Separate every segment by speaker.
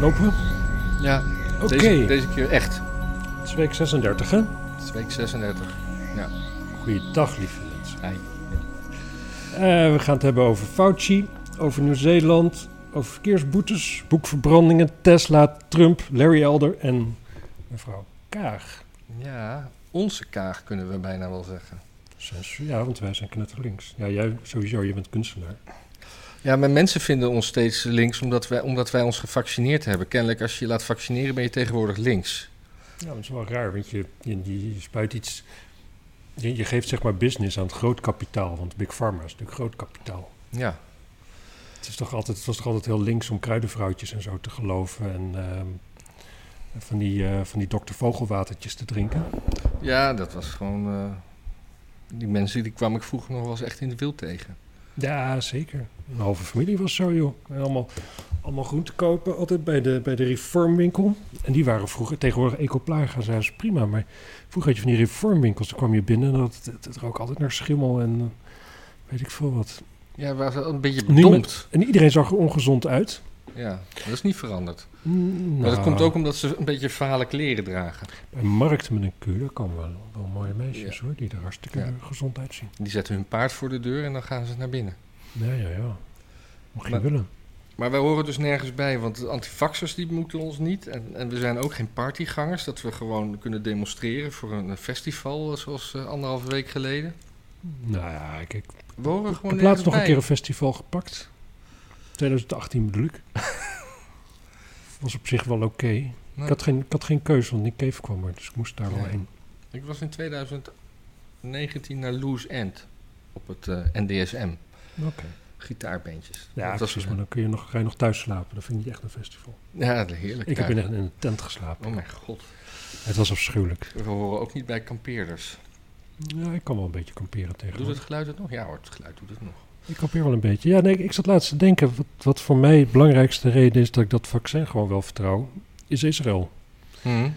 Speaker 1: lopen.
Speaker 2: Ja,
Speaker 1: Oké,
Speaker 2: deze, deze keer echt.
Speaker 1: het is week 36, hè?
Speaker 2: Het is week 36.
Speaker 1: Goeiedag, lieve mensen.
Speaker 2: Hi.
Speaker 1: Eh, we gaan het hebben over Fauci, over Nieuw-Zeeland, over verkeersboetes, boekverbrandingen, Tesla, Trump, Larry Elder en mevrouw Kaag.
Speaker 2: Ja, onze kaag kunnen we bijna wel zeggen.
Speaker 1: Censu- Ja, want wij zijn knetterlinks. Ja, jij sowieso, je bent kunstenaar.
Speaker 2: Ja, maar mensen vinden ons steeds links omdat wij, omdat wij ons gevaccineerd hebben. Kennelijk, als je je laat vaccineren, ben je tegenwoordig links.
Speaker 1: Ja, dat is wel raar, want je, je, je spuit iets... Je, je geeft zeg maar business aan het groot kapitaal, want Big Pharma is natuurlijk groot kapitaal.
Speaker 2: Ja,
Speaker 1: Het, is toch altijd, het was toch altijd heel links om kruidenvrouwtjes en zo te geloven en ehm, van, die, eh, van die dokter Vogelwatertjes te drinken.
Speaker 2: ja dat was gewoon. eh, die mensen die kwam ik vroeger nog wel eens echt in de wild tegen.
Speaker 1: Ja, zeker. Een halve familie was zo, joh. En allemaal, allemaal groente kopen, altijd bij de, bij de reformwinkel. En die waren vroeger, tegenwoordig ecoplaga, zijn ze prima. Maar vroeger had je van die reformwinkels, dan kwam je binnen en dat, het, het rook altijd naar schimmel en eh, weet ik veel wat.
Speaker 2: Ja, we waren een beetje
Speaker 1: Niemand-
Speaker 2: bedompt.
Speaker 1: En iedereen zag er ongezond uit.
Speaker 2: Ja, dat is niet veranderd.
Speaker 1: Mm,
Speaker 2: Maar dat
Speaker 1: nou,
Speaker 2: komt ook omdat ze een beetje verhalen kleren dragen.
Speaker 1: Bij Markt met een Q, daar komen wel, wel mooie meisjes hoor, die er hartstikke
Speaker 2: Ja.
Speaker 1: gezond uitzien.
Speaker 2: Die zetten hun paard voor de deur en dan gaan ze naar binnen.
Speaker 1: Ja, ja, ja. Mocht je
Speaker 2: Maar-
Speaker 1: willen.
Speaker 2: Maar wij horen dus nergens bij, want de antifaxers die moeten ons niet. En, en we zijn ook geen partygangers, dat we gewoon kunnen demonstreren voor een eh, festival eh, zoals eh, anderhalve week geleden.
Speaker 1: Nou ja, ik, ik
Speaker 2: We horen
Speaker 1: ik
Speaker 2: gewoon
Speaker 1: heb laatst
Speaker 2: nergens
Speaker 1: nog een
Speaker 2: bij.
Speaker 1: keer een festival gepakt. 2018 bedoel ik. was op zich wel oké.
Speaker 2: Nee,
Speaker 1: Ik, had geen, ik had geen keuze, want Nick Cave kwam er, dus ik moest daar wel
Speaker 2: Ja.
Speaker 1: heen.
Speaker 2: ik was in 2019 naar Loose End op het eh, NDSM.
Speaker 1: Oké.
Speaker 2: Gitaarbeentjes.
Speaker 1: Ja,
Speaker 2: dat was
Speaker 1: precies, maar
Speaker 2: een-
Speaker 1: dan kun je nog, ga je nog thuis slapen. Dat vind ik niet echt een festival.
Speaker 2: Ja, heerlijk.
Speaker 1: Ik heb
Speaker 2: daar.
Speaker 1: in een, in een tent geslapen.
Speaker 2: Oh mijn god.
Speaker 1: Het was afschuwelijk.
Speaker 2: We horen ook niet bij kampeerders.
Speaker 1: Ja, ik kan wel een beetje kamperen
Speaker 2: Doet het
Speaker 1: tegenwoordig.
Speaker 2: geluid het nog? Ja hoor, het geluid doet het nog.
Speaker 1: Ik kampeer wel een beetje. Ja, nee, ik- ik zat laatst te denken, wat, wat voor mij het belangrijkste reden is dat ik dat vaccin gewoon wel vertrouw, is Israël. Mhm.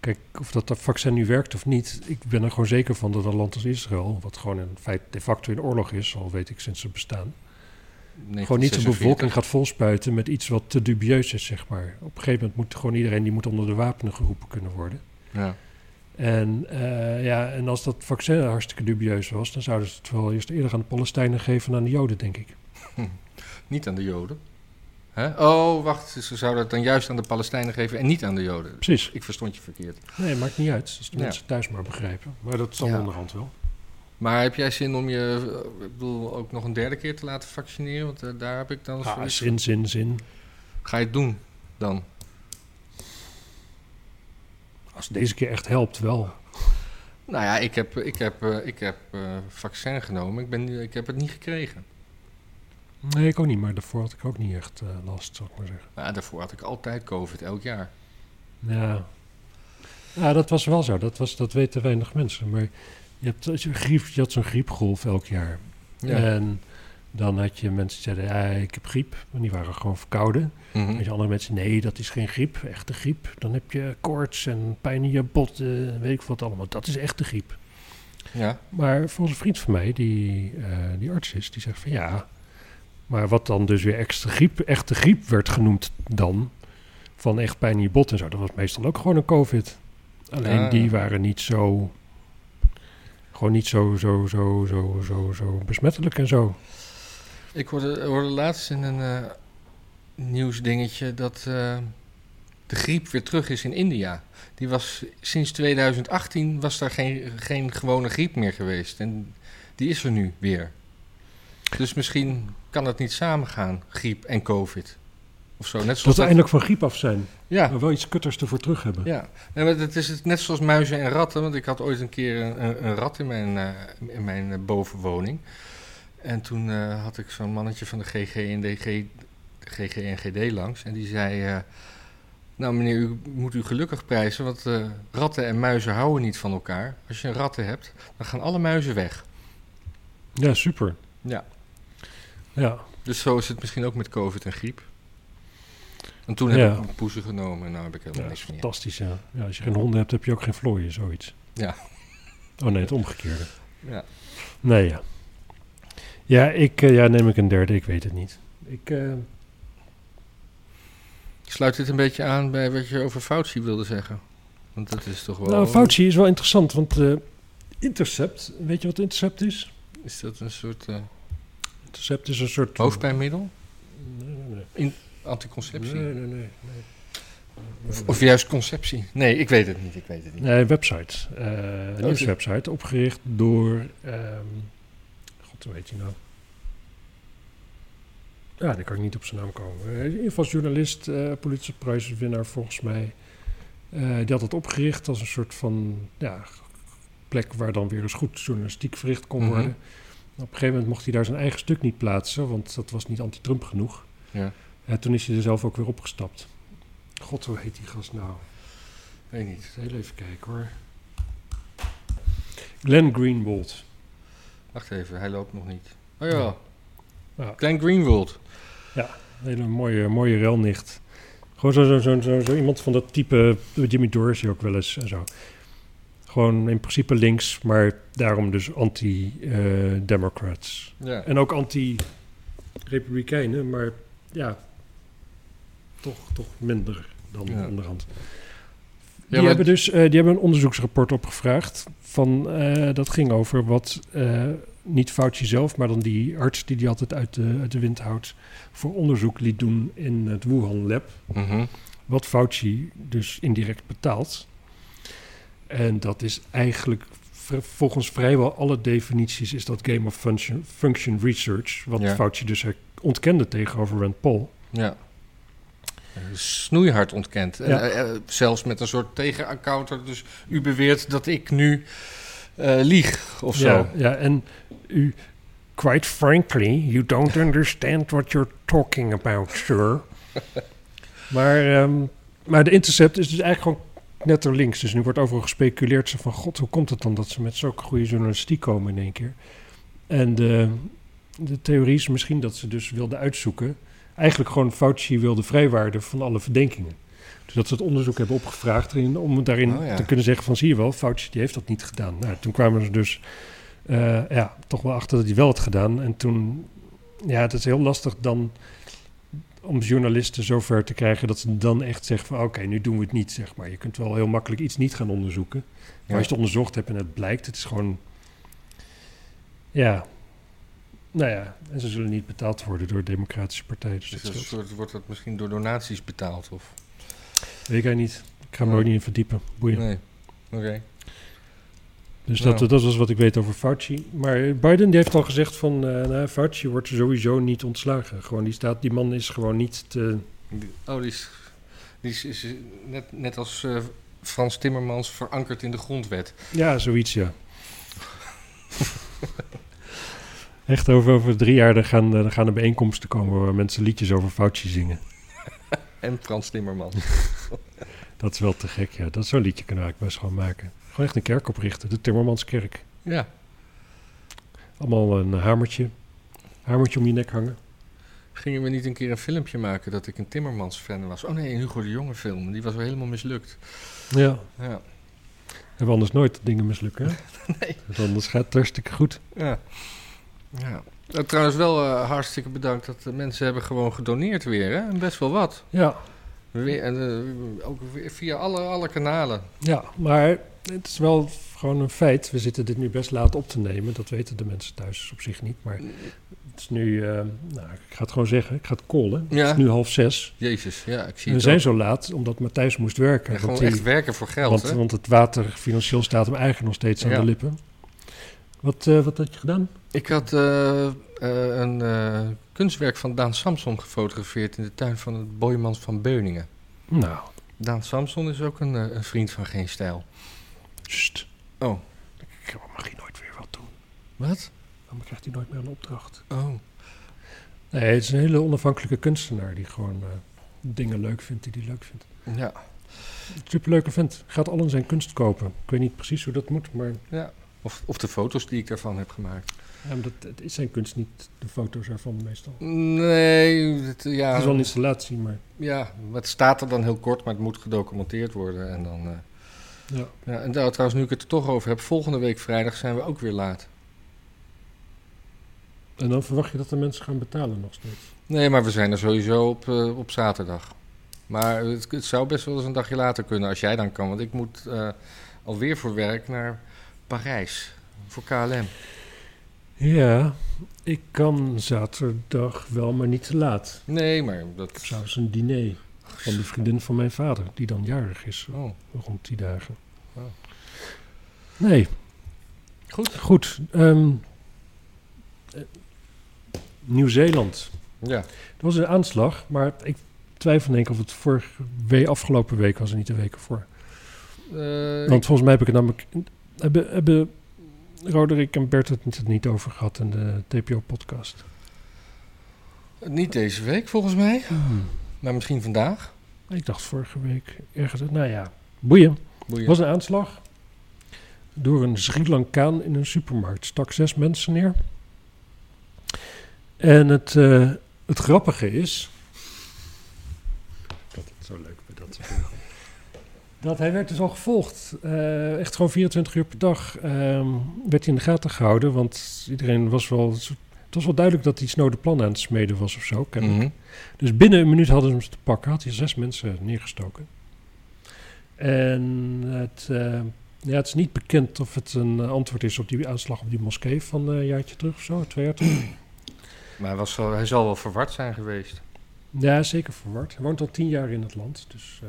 Speaker 1: Kijk, of dat, dat vaccin nu werkt of niet, ik ben er gewoon zeker van dat een land als Israël, wat gewoon in feite de facto in oorlog is, al weet ik sinds ze bestaan, gewoon niet zijn
Speaker 2: 1946.
Speaker 1: bevolking gaat volspuiten met iets wat te dubieus is, zeg maar. Op een gegeven moment moet gewoon iedereen die moet onder de wapenen geroepen kunnen worden.
Speaker 2: Ja.
Speaker 1: En, eh, ja, en als dat vaccin hartstikke dubieus was, dan zouden ze het wel eerst eerder aan de Palestijnen geven dan aan de Joden, denk ik.
Speaker 2: Niet aan de Joden. Hè? Oh, wacht, ze zouden het dan juist aan de Palestijnen geven en niet aan de Joden.
Speaker 1: Precies.
Speaker 2: Ik verstond je verkeerd.
Speaker 1: Nee, maakt niet uit. Als de
Speaker 2: Ja.
Speaker 1: mensen thuis maar begrijpen. Maar dat zal
Speaker 2: Ja.
Speaker 1: onderhand wel.
Speaker 2: Maar heb jij zin om je, eh, ik bedoel, ook nog een derde keer te laten vaccineren? Want eh, daar heb ik dan
Speaker 1: Ah,
Speaker 2: zoiets-
Speaker 1: zin, zin, zin.
Speaker 2: Ga je het doen dan?
Speaker 1: Als het deze keer echt helpt, wel.
Speaker 2: Nou ja, ik heb, ik heb, eh, ik heb eh, vaccin genomen. Ik, ben, nu- ik heb het niet gekregen.
Speaker 1: Nee, ik ook niet. Maar daarvoor had ik ook niet echt eh, last, zal ik maar zeggen.
Speaker 2: Maar Nou, daarvoor had ik altijd COVID, elk jaar.
Speaker 1: Ja. ja, dat was wel zo. Dat, was, dat weten weinig mensen. Maar je, hebt, als je, griep, je had zo'n griepgolf elk jaar. En dan had je mensen die zeiden, ja, ik heb griep. Maar die waren gewoon verkouden.
Speaker 2: Mhm.
Speaker 1: Weet je, andere mensen, nee, dat is geen griep, echte griep. Dan heb je koorts en pijn in je botten, en weet ik wat allemaal. Dat is echte griep.
Speaker 2: ja.
Speaker 1: Maar volgens een vriend van mij, die, eh, die arts is, die zegt van ja. Maar wat dan dus weer echte griep, echte griep werd genoemd dan, van echt pijn in je bot en zo, dat was meestal ook gewoon een COVID. Alleen
Speaker 2: Ah.
Speaker 1: die waren niet zo, gewoon niet zo, zo, zo, zo, zo, zo besmettelijk en zo.
Speaker 2: Ik hoorde, hoorde laatst in een eh, nieuwsdingetje dat eh, de griep weer terug is in India. Die was, sinds 2018 was daar geen, geen gewone griep meer geweest. En die is er nu weer. Dus misschien kan het niet samengaan, griep en covid. Of zo, net
Speaker 1: Dat
Speaker 2: zoals
Speaker 1: we
Speaker 2: dat-
Speaker 1: eindelijk van griep af zijn,
Speaker 2: ja,
Speaker 1: maar wel iets kutters ervoor terug hebben.
Speaker 2: ja. Nee, maar het is het net zoals muizen en ratten. Want ik had ooit een keer een, een, een rat in mijn, eh, in mijn eh, bovenwoning. En toen eh, had ik zo'n mannetje van de GG en DG, GG en GD langs. En die zei, eh, nou meneer, u moet u gelukkig prijzen. Want eh, ratten en muizen houden niet van elkaar. Als je een ratten hebt, dan gaan alle muizen weg.
Speaker 1: Ja, super.
Speaker 2: Ja.
Speaker 1: Ja,
Speaker 2: Dus zo is het misschien ook met covid en griep. En toen
Speaker 1: Ja.
Speaker 2: heb ik een poezen genomen en nou heb ik helemaal
Speaker 1: Ja, dat is
Speaker 2: niks meer.
Speaker 1: fantastisch, ja. ja. Als je geen honden hebt, heb je ook geen vlooien, zoiets.
Speaker 2: Ja.
Speaker 1: Oh nee, het omgekeerde.
Speaker 2: Ja.
Speaker 1: Nee, ja. Ja, ik, eh, ja, neem ik een derde, ik weet het niet. Ik, eh,
Speaker 2: Sluit dit een beetje aan bij wat je over Fauci wilde zeggen? Want dat is toch wel...
Speaker 1: Nou, Fauci is wel interessant, want eh, Intercept, weet je wat Intercept is?
Speaker 2: Is dat een soort eh,
Speaker 1: Intercept is een soort...
Speaker 2: hoofdpijnmiddel?
Speaker 1: Nee, nee, nee.
Speaker 2: Anticonceptie?
Speaker 1: Nee, nee, nee, nee.
Speaker 2: Of, of juist conceptie? Nee, ik weet het niet, ik weet het niet.
Speaker 1: Nee, een website. eh, een
Speaker 2: is-
Speaker 1: nieuwswebsite, opgericht door... ehm, God, hoe weet je nou? Ja, daar kan ik niet op zijn naam komen. Eh, In ieder geval journalist, eh politieprijswinnaar volgens mij. Eh, die had het opgericht als een soort van ja, g- plek waar dan weer eens goed journalistiek verricht kon
Speaker 2: Mhm.
Speaker 1: worden. En op een gegeven moment mocht hij daar zijn eigen stuk niet plaatsen, want dat was niet anti-Trump genoeg.
Speaker 2: Ja.
Speaker 1: Eh, toen is hij er zelf ook weer opgestapt. God, hoe heet die gast nou?
Speaker 2: Weet niet.
Speaker 1: Heel even kijken hoor. Glenn Greenwald.
Speaker 2: Wacht even, hij loopt nog niet. Oh ja.
Speaker 1: Ja.
Speaker 2: Glenn Greenwald.
Speaker 1: Een hele mooie, mooie relnicht. Gewoon zo, zo, zo, zo, zo iemand van dat type. eh, Jimmy Dorsey ook wel eens en zo. Gewoon in principe links, maar daarom dus anti-democrats.
Speaker 2: Ja.
Speaker 1: en ook anti-republikeinen, maar ja, toch, toch minder dan
Speaker 2: Ja.
Speaker 1: onderhand. Die
Speaker 2: Ja, maar-
Speaker 1: hebben dus eh, die hebben een onderzoeksrapport opgevraagd. Van, eh, dat ging over wat eh, niet Fauci zelf, maar dan die arts die die altijd uit de, uit de wind houdt. voor onderzoek liet doen in het Wuhan Lab.
Speaker 2: Mhm.
Speaker 1: Wat Fauci dus indirect betaalt. En dat is eigenlijk v- volgens vrijwel alle definities is dat game of function, function research. Wat
Speaker 2: Ja.
Speaker 1: Fauci dus her- ontkende tegenover Rand Paul.
Speaker 2: Ja. Snoeihard ontkend. En,
Speaker 1: Ja.
Speaker 2: eh, eh, zelfs met een soort tegenaccounter. Dus u beweert dat ik nu eh, lieg of zo.
Speaker 1: Ja, ja, en u, quite frankly, you don't understand what you're talking about, sir. maar, ehm, maar de intercept is dus eigenlijk gewoon net er links. Dus nu wordt overal gespeculeerd zo van, god, hoe komt het dan dat ze met zulke goede journalistiek komen in één keer? En de, de theorie is misschien dat ze dus wilden uitzoeken, eigenlijk gewoon Fauci wilde vrijwaarden van alle verdenkingen. Dus dat ze het onderzoek hebben opgevraagd erin, om daarin
Speaker 2: Oh ja.
Speaker 1: te kunnen zeggen van, zie je wel, Fauci die heeft dat niet gedaan. Nou, toen kwamen ze dus eh, ja, toch wel achter dat hij wel had gedaan. En toen, ja, het is heel lastig dan om journalisten zover te krijgen dat ze dan echt zeggen van oké, nu doen we het niet, zeg maar. Je kunt wel heel makkelijk iets niet gaan onderzoeken. Maar
Speaker 2: Ja.
Speaker 1: als je het onderzocht hebt en het blijkt, het is gewoon, ja, nou ja, en ze zullen niet betaald worden door de democratische partijen. Dus
Speaker 2: Dus
Speaker 1: dat
Speaker 2: dat
Speaker 1: scheelt.
Speaker 2: soort, wordt dat misschien door donaties betaald? Of?
Speaker 1: Weet ik niet. Ik ga me er ook niet in verdiepen. Boeien.
Speaker 2: Nee. Oké.
Speaker 1: Dus dat,
Speaker 2: Ja.
Speaker 1: dat was wat ik weet over Fauci. Maar Biden die heeft al gezegd van eh, nou, Fauci wordt sowieso niet ontslagen. Gewoon die staat, die man is gewoon niet te.
Speaker 2: Oh, die is, die is, is net, net als eh, Frans Timmermans verankerd in de grondwet.
Speaker 1: Ja, zoiets ja. Echt over, over drie jaar er gaan, er gaan er bijeenkomsten komen waar mensen liedjes over Fauci zingen.
Speaker 2: En Frans Timmermans.
Speaker 1: Dat is wel te gek, ja. Dat zo'n liedje kunnen we eigenlijk best gewoon maken. Gewoon echt een kerk oprichten, de Timmermanskerk.
Speaker 2: ja.
Speaker 1: Allemaal een hamertje. Hamertje om je nek hangen.
Speaker 2: Gingen we niet een keer een filmpje maken dat ik een Timmermans fan was? Oh nee, een Hugo de Jonge film. Die was wel helemaal mislukt.
Speaker 1: Ja.
Speaker 2: Ja.
Speaker 1: Hebben we anders nooit dat dingen mislukken? hè?
Speaker 2: Nee.
Speaker 1: Want Anders gaat het hartstikke goed.
Speaker 2: Ja. ja. Eh, trouwens wel eh, hartstikke bedankt dat de mensen hebben gewoon gedoneerd weer. Hè? En Best wel wat.
Speaker 1: Ja,
Speaker 2: Weer, en, eh, ook weer via alle, alle kanalen.
Speaker 1: Ja, maar het is wel gewoon een feit. We zitten dit nu best laat op te nemen. Dat weten de mensen thuis op zich niet. Maar het is nu, eh, nou, ik ga het gewoon zeggen. Ik ga het callen.
Speaker 2: Ja.
Speaker 1: Het is nu half zes.
Speaker 2: Jezus, ja, ik zie
Speaker 1: We
Speaker 2: het
Speaker 1: zijn
Speaker 2: ook.
Speaker 1: zo laat omdat Matthijs moest werken.
Speaker 2: Ja,
Speaker 1: want,
Speaker 2: gewoon
Speaker 1: die-
Speaker 2: echt werken voor geld,
Speaker 1: want,
Speaker 2: hè?
Speaker 1: want het water financieel staat hem eigenlijk nog steeds aan
Speaker 2: Ja.
Speaker 1: de lippen. Wat, eh, wat had je gedaan?
Speaker 2: Ik had eh, eh, een eh, kunstwerk van Daan Samson gefotografeerd in de tuin van het Boymans van Beuningen.
Speaker 1: Nou,
Speaker 2: Daan Samson is ook een, eh, een vriend van Geen Stijl.
Speaker 1: sst.
Speaker 2: Oh.
Speaker 1: Ik mag hij nooit weer wat doen.
Speaker 2: Wat?
Speaker 1: Dan krijgt hij nooit meer een opdracht.
Speaker 2: Oh.
Speaker 1: Nee, het is een hele onafhankelijke kunstenaar die gewoon eh, dingen leuk vindt die hij leuk vindt.
Speaker 2: Ja.
Speaker 1: Superleuke vent. Gaat allen zijn kunst kopen. Ik weet niet precies hoe dat moet, maar
Speaker 2: ja. Of, of de foto's die ik daarvan heb gemaakt.
Speaker 1: ja, maar dat, het is zijn kunst niet. De foto's ervan meestal.
Speaker 2: Nee, het, ja.
Speaker 1: Het is wel een installatie, maar...
Speaker 2: Ja, het staat er dan heel kort, maar het moet gedocumenteerd worden. En dan, eh,
Speaker 1: Ja.
Speaker 2: ja, en nou, trouwens, nu ik het er toch over heb, volgende week vrijdag zijn we ook weer laat.
Speaker 1: En dan verwacht je dat de mensen gaan betalen nog steeds.
Speaker 2: Nee, maar we zijn er sowieso op, eh, op zaterdag. Maar het, het zou best wel eens een dagje later kunnen als jij dan kan. Want ik moet eh, alweer voor werk naar Parijs voor KLM.
Speaker 1: Ja, ik kan zaterdag wel, maar niet te laat.
Speaker 2: Nee, maar dat.
Speaker 1: Ik heb een diner van de vriendin van mijn vader, die dan jarig is,
Speaker 2: Oh,
Speaker 1: rond die dagen.
Speaker 2: Wauw.
Speaker 1: Nee,
Speaker 2: goed.
Speaker 1: goed. ehm, eh, Nieuw-Zeeland.
Speaker 2: Ja.
Speaker 1: Er was een aanslag, maar ik twijfel denk ik of het vorige we afgelopen week was en niet de week ervoor.
Speaker 2: Eh,
Speaker 1: Want volgens mij heb ik het namelijk... Hebben, hebben Roderick en Bert het niet- het niet over gehad in de TPO-podcast?
Speaker 2: Niet deze week volgens mij,
Speaker 1: Hmm.
Speaker 2: maar misschien vandaag.
Speaker 1: Ik dacht vorige week ergens... Nou ja, boeien.
Speaker 2: Boeien.
Speaker 1: Er was een aanslag door een Sri Lankaan in een supermarkt. Stak zes mensen neer. En het, eh, het grappige is... Dat is zo leuk bij dat Dat hij werd dus al gevolgd. Eh, echt gewoon 24 uur per dag ehm, werd hij in de gaten gehouden. Want iedereen was wel... Het was wel duidelijk dat hij snode plannen aan het smeden was of zo. kennelijk.
Speaker 2: Mhm.
Speaker 1: Dus binnen een minuut hadden ze hem te pakken. Had hij zes mensen neergestoken. En het, eh, ja, het is niet bekend of het een eh, antwoord is op die aanslag op die moskee van eh, een jaartje terug of zo, twee jaar terug.
Speaker 2: Maar hij, was wel, hij zal wel verward zijn geweest.
Speaker 1: Ja, zeker verward. Hij woont al tien jaar in het land. Dus, eh.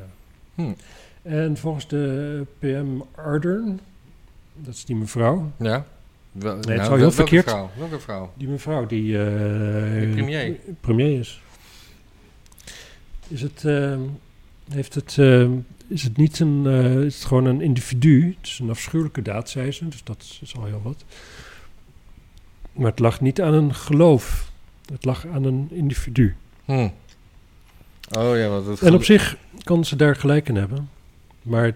Speaker 2: Hmm.
Speaker 1: En volgens de PM Ardern, dat is die mevrouw,
Speaker 2: Ja. Nou, Wel, nee,
Speaker 1: zou heel verkeerd-
Speaker 2: Vrouw, welke vrouw?
Speaker 1: die mevrouw die eh,
Speaker 2: De premier.
Speaker 1: premier is. Is het, eh, heeft het, eh, is het niet een, eh, is het gewoon een individu? Het is een afschuwelijke daad, zei ze, dus dat is- is al heel wat. Maar het lag niet aan een geloof. Het lag aan een individu.
Speaker 2: Hm. Oh ja, wat het
Speaker 1: En op zich kan ze daar gelijk in hebben. Maar het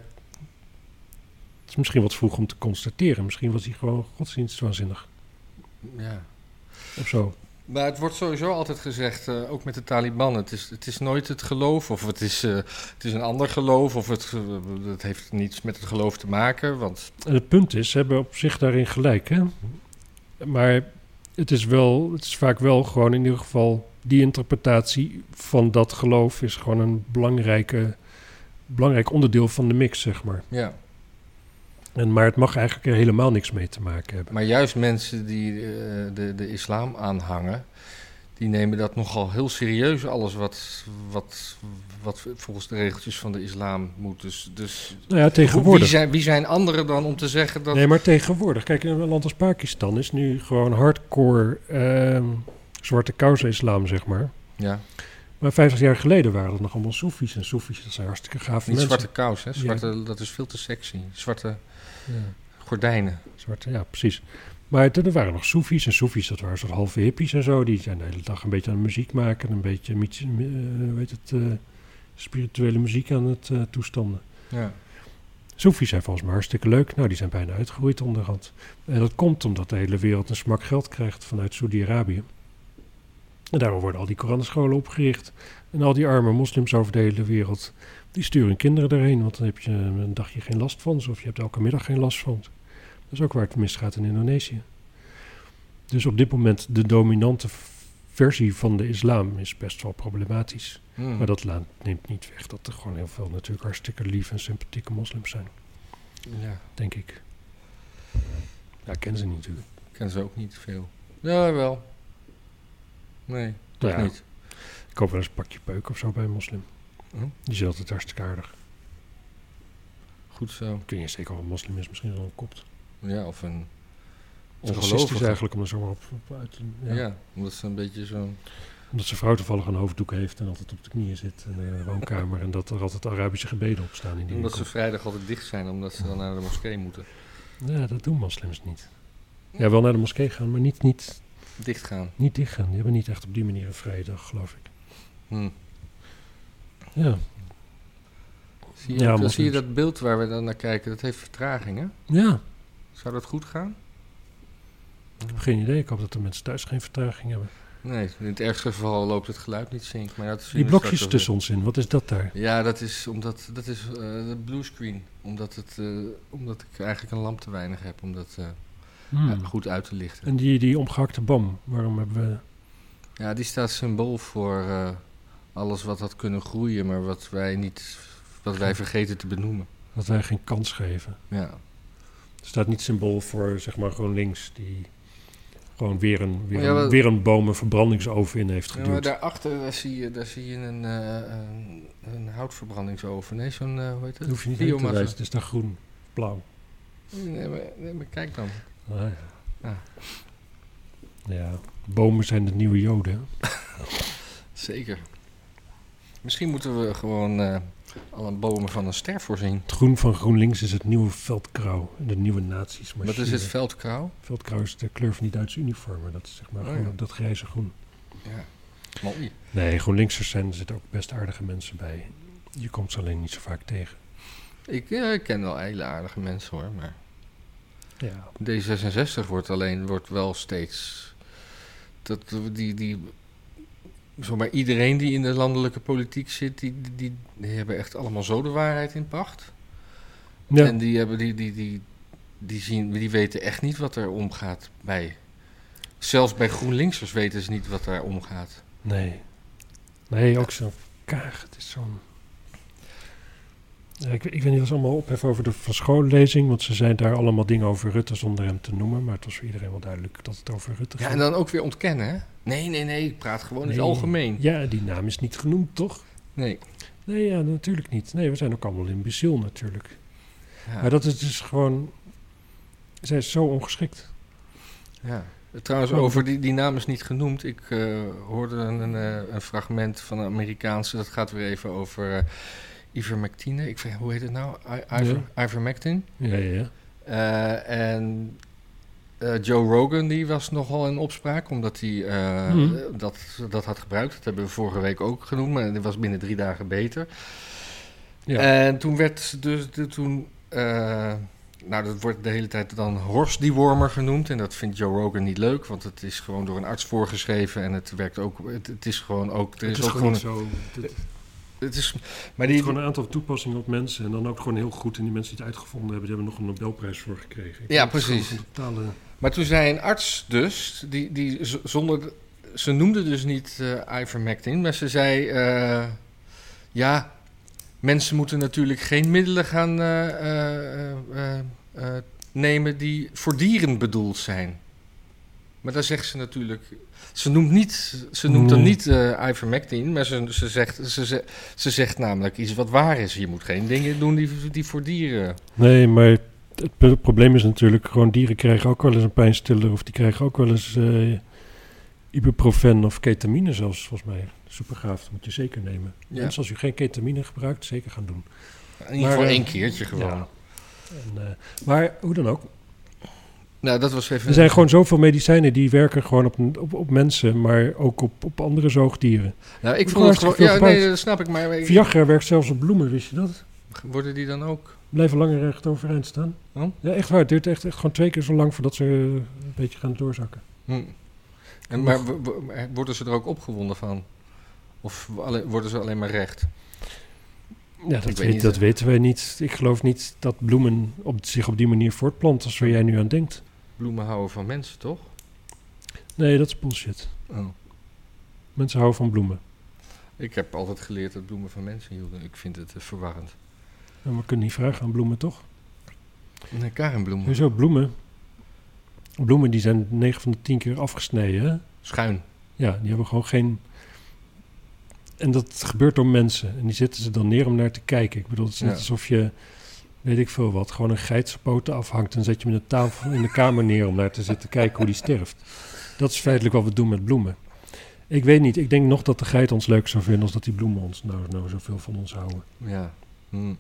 Speaker 1: is misschien wat vroeg om te constateren. Misschien was hij gewoon godsdienstwaanzinnig.
Speaker 2: Ja.
Speaker 1: Of zo.
Speaker 2: Maar het wordt sowieso altijd gezegd, eh, ook met de Taliban, het is, het is nooit het geloof of het is, eh, het is een ander geloof of het, eh, het heeft niets met het geloof te maken. Want
Speaker 1: En Eh, het punt is, ze hebben op zich daarin gelijk, hè? Maar het is, wel, het is vaak wel gewoon in ieder geval... die interpretatie van dat geloof is gewoon een belangrijke, belangrijk onderdeel van de mix, zeg maar.
Speaker 2: ja,
Speaker 1: En, maar het mag eigenlijk er helemaal niks mee te maken hebben.
Speaker 2: Maar juist mensen die eh, de, de islam aanhangen, die nemen dat nogal heel serieus, alles wat, wat, wat volgens de regeltjes van de islam moet. Dus, dus
Speaker 1: Nou ja,
Speaker 2: wie
Speaker 1: tegenwoordig.
Speaker 2: zijn, wie zijn anderen dan om te zeggen dat...
Speaker 1: Nee, maar tegenwoordig. Kijk, in een land als Pakistan is nu gewoon hardcore ehm, zwarte kousen-islam, zeg maar.
Speaker 2: Ja,
Speaker 1: Maar 50 jaar geleden waren dat nog allemaal soefies. En soefies, dat zijn hartstikke gaaf
Speaker 2: niet
Speaker 1: mensen.
Speaker 2: zwarte kous, hè? Zwarte, dat is veel te sexy. Zwarte
Speaker 1: Ja.
Speaker 2: gordijnen.
Speaker 1: Zwarte, ja, precies. Maar het- er waren nog soefies. En soefies, dat waren soort halve hippies en zo. Die zijn de hele dag een beetje aan de muziek maken. Een beetje miet- eh, hoe heet het, eh, spirituele muziek aan het eh, toestanden.
Speaker 2: Ja.
Speaker 1: Soefies zijn volgens mij hartstikke leuk. Nou, die zijn bijna uitgeroeid onderhand. En dat komt omdat de hele wereld een smak geld krijgt vanuit Saudi-Arabië. En daarom worden al die Koranscholen opgericht. En al die arme moslims over de hele wereld, die sturen hun kinderen daarheen. Want dan heb je een dagje geen last van ze, of je hebt elke middag geen last van ze. Dat is ook waar het misgaat in Indonesië. Dus op dit moment de dominante v- versie van de islam is best wel problematisch.
Speaker 2: Hmm.
Speaker 1: Maar dat laat- neemt niet weg dat er gewoon heel veel natuurlijk hartstikke lief en sympathieke moslims zijn
Speaker 2: ja,
Speaker 1: denk ik. Ja, ik ken ze niet natuurlijk.
Speaker 2: ik ken ze ook niet veel. Ja, wel. Nee, toch
Speaker 1: Nou ja,
Speaker 2: niet.
Speaker 1: ik koop wel eens een pakje peuk of zo bij een moslim.
Speaker 2: Hm?
Speaker 1: Die is altijd hartstikke aardig.
Speaker 2: Goed zo.
Speaker 1: Ik weet niet zeker of een moslim is, misschien wel een kopt.
Speaker 2: Ja, of een
Speaker 1: Het is racistisch
Speaker 2: ongelovige.
Speaker 1: eigenlijk om er zo maar op, op uit te... Ja.
Speaker 2: Ja. omdat ze een beetje zo'n...
Speaker 1: Omdat zijn vrouw toevallig een hoofddoek heeft en altijd op de knieën zit in de woonkamer. en dat er altijd Arabische gebeden op staan in die
Speaker 2: Omdat ze
Speaker 1: winkel.
Speaker 2: vrijdag altijd dicht zijn, omdat ze dan naar de moskee moeten.
Speaker 1: Ja, dat doen moslims niet. Ja, wel naar de moskee gaan, maar niet, niet,
Speaker 2: Dicht gaan.
Speaker 1: niet dicht gaan. Die hebben niet echt op die manier een vrije dag, geloof ik.
Speaker 2: Hm.
Speaker 1: Ja,
Speaker 2: Zie,
Speaker 1: Ja,
Speaker 2: je, dat-
Speaker 1: moslims.
Speaker 2: zie je dat beeld waar we dan naar kijken? Dat heeft vertraging, hè?
Speaker 1: ja.
Speaker 2: Zou dat goed gaan?
Speaker 1: ik heb geen idee. Ik hoop dat de mensen thuis geen vertraging hebben.
Speaker 2: Nee, in het ergste geval loopt het geluid niet zink. Maar ja, dat zien
Speaker 1: Die
Speaker 2: we
Speaker 1: blokjes
Speaker 2: straks
Speaker 1: tussen ons in, wat is dat daar?
Speaker 2: wel weer. Ja, dat is omdat dat is eh de bluescreen. Omdat, het, eh, omdat ik eigenlijk een lamp te weinig heb om dat eh,
Speaker 1: Hmm.
Speaker 2: goed uit te lichten.
Speaker 1: En die, die omgehakte bam, waarom hebben we...
Speaker 2: Ja, die staat symbool voor eh, Alles wat had kunnen groeien, maar wat wij, niet, wat wij vergeten te benoemen.
Speaker 1: Dat wij geen kans geven.
Speaker 2: Ja.
Speaker 1: Er staat niet symbool voor, zeg maar, gewoon links die gewoon weer een, weer
Speaker 2: Ja,
Speaker 1: een,
Speaker 2: wel-
Speaker 1: weer een boom een verbrandingsoven in heeft
Speaker 2: Ja, maar
Speaker 1: geduwd.
Speaker 2: daarachter daar zie je, daar zie je een, eh, een, een houtverbrandingsoven. Nee, zo'n, eh, hoe heet
Speaker 1: dat
Speaker 2: het?
Speaker 1: hoef je niet heen te
Speaker 2: biomassa.
Speaker 1: wijzen. Het is daar groen, blauw.
Speaker 2: Nee, maar, nee, maar kijk dan.
Speaker 1: Ah, ja.
Speaker 2: Ah.
Speaker 1: Ja, bomen zijn de nieuwe joden. hè?
Speaker 2: Zeker. Misschien moeten we gewoon eh alle bomen van een ster voorzien.
Speaker 1: Het groen van GroenLinks is het nieuwe veldkrauw. En de nieuwe nazi's
Speaker 2: Wat
Speaker 1: marcheren.
Speaker 2: is het veldkrauw?
Speaker 1: Veldkrauw is de kleur van die Duitse uniformen. Dat is zeg maar
Speaker 2: Oh,
Speaker 1: groen,
Speaker 2: ja.
Speaker 1: dat grijze groen.
Speaker 2: Ja. Mooi.
Speaker 1: Nee, GroenLinksers zijn, er zitten ook best aardige mensen bij. Je komt ze alleen niet zo vaak tegen.
Speaker 2: Ik eh, ken wel hele aardige mensen hoor, maar
Speaker 1: Ja.
Speaker 2: D66 wordt alleen wordt wel steeds dat die die zomaar iedereen die in de landelijke politiek zit, die, die, die, die hebben echt allemaal zo de waarheid in pacht.
Speaker 1: Ja,
Speaker 2: En die hebben die die die die zien die weten echt niet wat er omgaat bij zelfs bij GroenLinksers weten ze niet wat daar omgaat.
Speaker 1: nee. Nee, ook zo'n kaag. Het is zo'n... Ja, ik, ik weet niet, was allemaal ophef over de van schoollezing. Want ze zijn daar allemaal dingen over Rutte zonder hem te noemen. Maar het was voor iedereen wel duidelijk dat het over Rutte
Speaker 2: Ja,
Speaker 1: ging.
Speaker 2: en dan ook weer ontkennen, hè? Nee, nee, nee, ik praat gewoon in
Speaker 1: Nee.
Speaker 2: het algemeen.
Speaker 1: Ja, die naam is niet genoemd, toch?
Speaker 2: Nee.
Speaker 1: Nee, ja, natuurlijk niet. Nee, we zijn ook allemaal imbeciel natuurlijk.
Speaker 2: Ja.
Speaker 1: Maar dat is dus gewoon... Zij is zo ongeschikt.
Speaker 2: Ja. Trouwens,
Speaker 1: Oh.
Speaker 2: over die, die naam is niet genoemd. Ik eh, hoorde een, een, eh, een fragment van een Amerikaanse. Dat gaat weer even over eh ivermectine. Ik, weet- hoe heet het nou? I- iver, Ivermectin.
Speaker 1: Ja, ja, ja.
Speaker 2: Eh, en eh, Joe Rogan die was nogal in opspraak. Omdat hij eh,
Speaker 1: Hmm.
Speaker 2: dat, dat had gebruikt. Dat hebben we vorige week ook genoemd. Maar die was binnen drie dagen beter.
Speaker 1: Ja.
Speaker 2: En toen werd ze dus de, toen. eh, nou, dat wordt de hele tijd dan wormer genoemd. En dat vindt Joe Rogan niet leuk, want het is gewoon door een arts voorgeschreven. En het werkt ook. Het, het is gewoon ook. Er is
Speaker 1: Het is
Speaker 2: ook
Speaker 1: gewoon
Speaker 2: gewoon.
Speaker 1: zo... Het
Speaker 2: Het is, maar
Speaker 1: is
Speaker 2: die,
Speaker 1: gewoon een aantal toepassingen op mensen. En dan ook gewoon heel goed. En die mensen die het uitgevonden hebben, die hebben nog een Nobelprijs voor gekregen. Ik
Speaker 2: Ja,
Speaker 1: vind het gewoon
Speaker 2: precies.
Speaker 1: een Totale...
Speaker 2: maar toen zei een arts dus. Die, die z- zonder. Ze noemde dus niet eh, ivermectin, maar ze zei. eh, ja, mensen moeten natuurlijk geen middelen gaan eh, eh, eh, eh, nemen die voor dieren bedoeld zijn. Maar daar zegt ze natuurlijk. Ze noemt, niet, ze noemt hem
Speaker 1: Nee.
Speaker 2: niet eh ivermectin, maar ze, ze, zegt, ze, ze, ze zegt namelijk iets wat waar is. Je moet geen dingen doen die, die voor dieren.
Speaker 1: Nee, maar het pro- probleem is natuurlijk gewoon dieren krijgen ook wel eens een pijnstiller of die krijgen ook wel eens eh, ibuprofen of ketamine zelfs volgens mij. Super gaaf, dat moet je zeker nemen.
Speaker 2: Ja.
Speaker 1: Mensen, als u geen ketamine gebruikt, zeker gaan doen.
Speaker 2: In ieder geval
Speaker 1: eh,
Speaker 2: één keertje gewoon.
Speaker 1: Ja. En, eh, maar hoe dan ook,
Speaker 2: Nou, dat was even.
Speaker 1: er zijn gewoon zoveel medicijnen die werken gewoon op, op, op mensen, maar ook op, op andere zoogdieren.
Speaker 2: nou,
Speaker 1: wordt
Speaker 2: ik vond het gewoon.
Speaker 1: hartstikke
Speaker 2: Ja,
Speaker 1: veel
Speaker 2: nee,
Speaker 1: gebruikt.
Speaker 2: dat snap ik. Maar ik-
Speaker 1: Viagra werkt zelfs op bloemen, wist je dat?
Speaker 2: worden die dan ook?
Speaker 1: Blijven langer recht overeind staan.
Speaker 2: Hm?
Speaker 1: Ja, echt waar, het duurt echt, echt gewoon twee keer zo lang voordat ze eh, een beetje gaan doorzakken.
Speaker 2: Hm. En, maar wo- wo- maar worden ze er ook opgewonden van? Of alle- worden ze alleen maar recht?
Speaker 1: Ja,
Speaker 2: weet
Speaker 1: dat, weet,
Speaker 2: niet, eh,
Speaker 1: dat
Speaker 2: hè.
Speaker 1: weten wij niet. Ik geloof niet dat bloemen op, zich op die manier voortplanten als waar jij nu aan denkt.
Speaker 2: Bloemen houden van mensen, toch?
Speaker 1: Nee, dat is bullshit.
Speaker 2: Oh.
Speaker 1: Mensen houden van bloemen.
Speaker 2: Ik heb altijd geleerd dat bloemen van mensen hielden. Ik vind het eh, verwarrend.
Speaker 1: En we kunnen niet vragen aan bloemen, toch?
Speaker 2: Nee, karenbloemen.
Speaker 1: Hoezo, bloemen? Bloemen die zijn 9 van de 10 keer afgesneden. Hè?
Speaker 2: Schuin.
Speaker 1: Ja, die hebben gewoon geen... En dat gebeurt door mensen. En die zetten ze dan neer om naar te kijken. Ik bedoel, het is net
Speaker 2: Ja.
Speaker 1: alsof je, weet ik veel wat, gewoon een geitspoten afhangt... en zet je hem in de tafel in de kamer neer om naar te zitten kijken hoe die sterft. Dat is feitelijk wat we doen met bloemen. Ik weet niet, ik denk nog dat de geit ons leuk zou vinden... als dat die bloemen ons nou, nou zoveel van ons houden.
Speaker 2: Ja. Hm.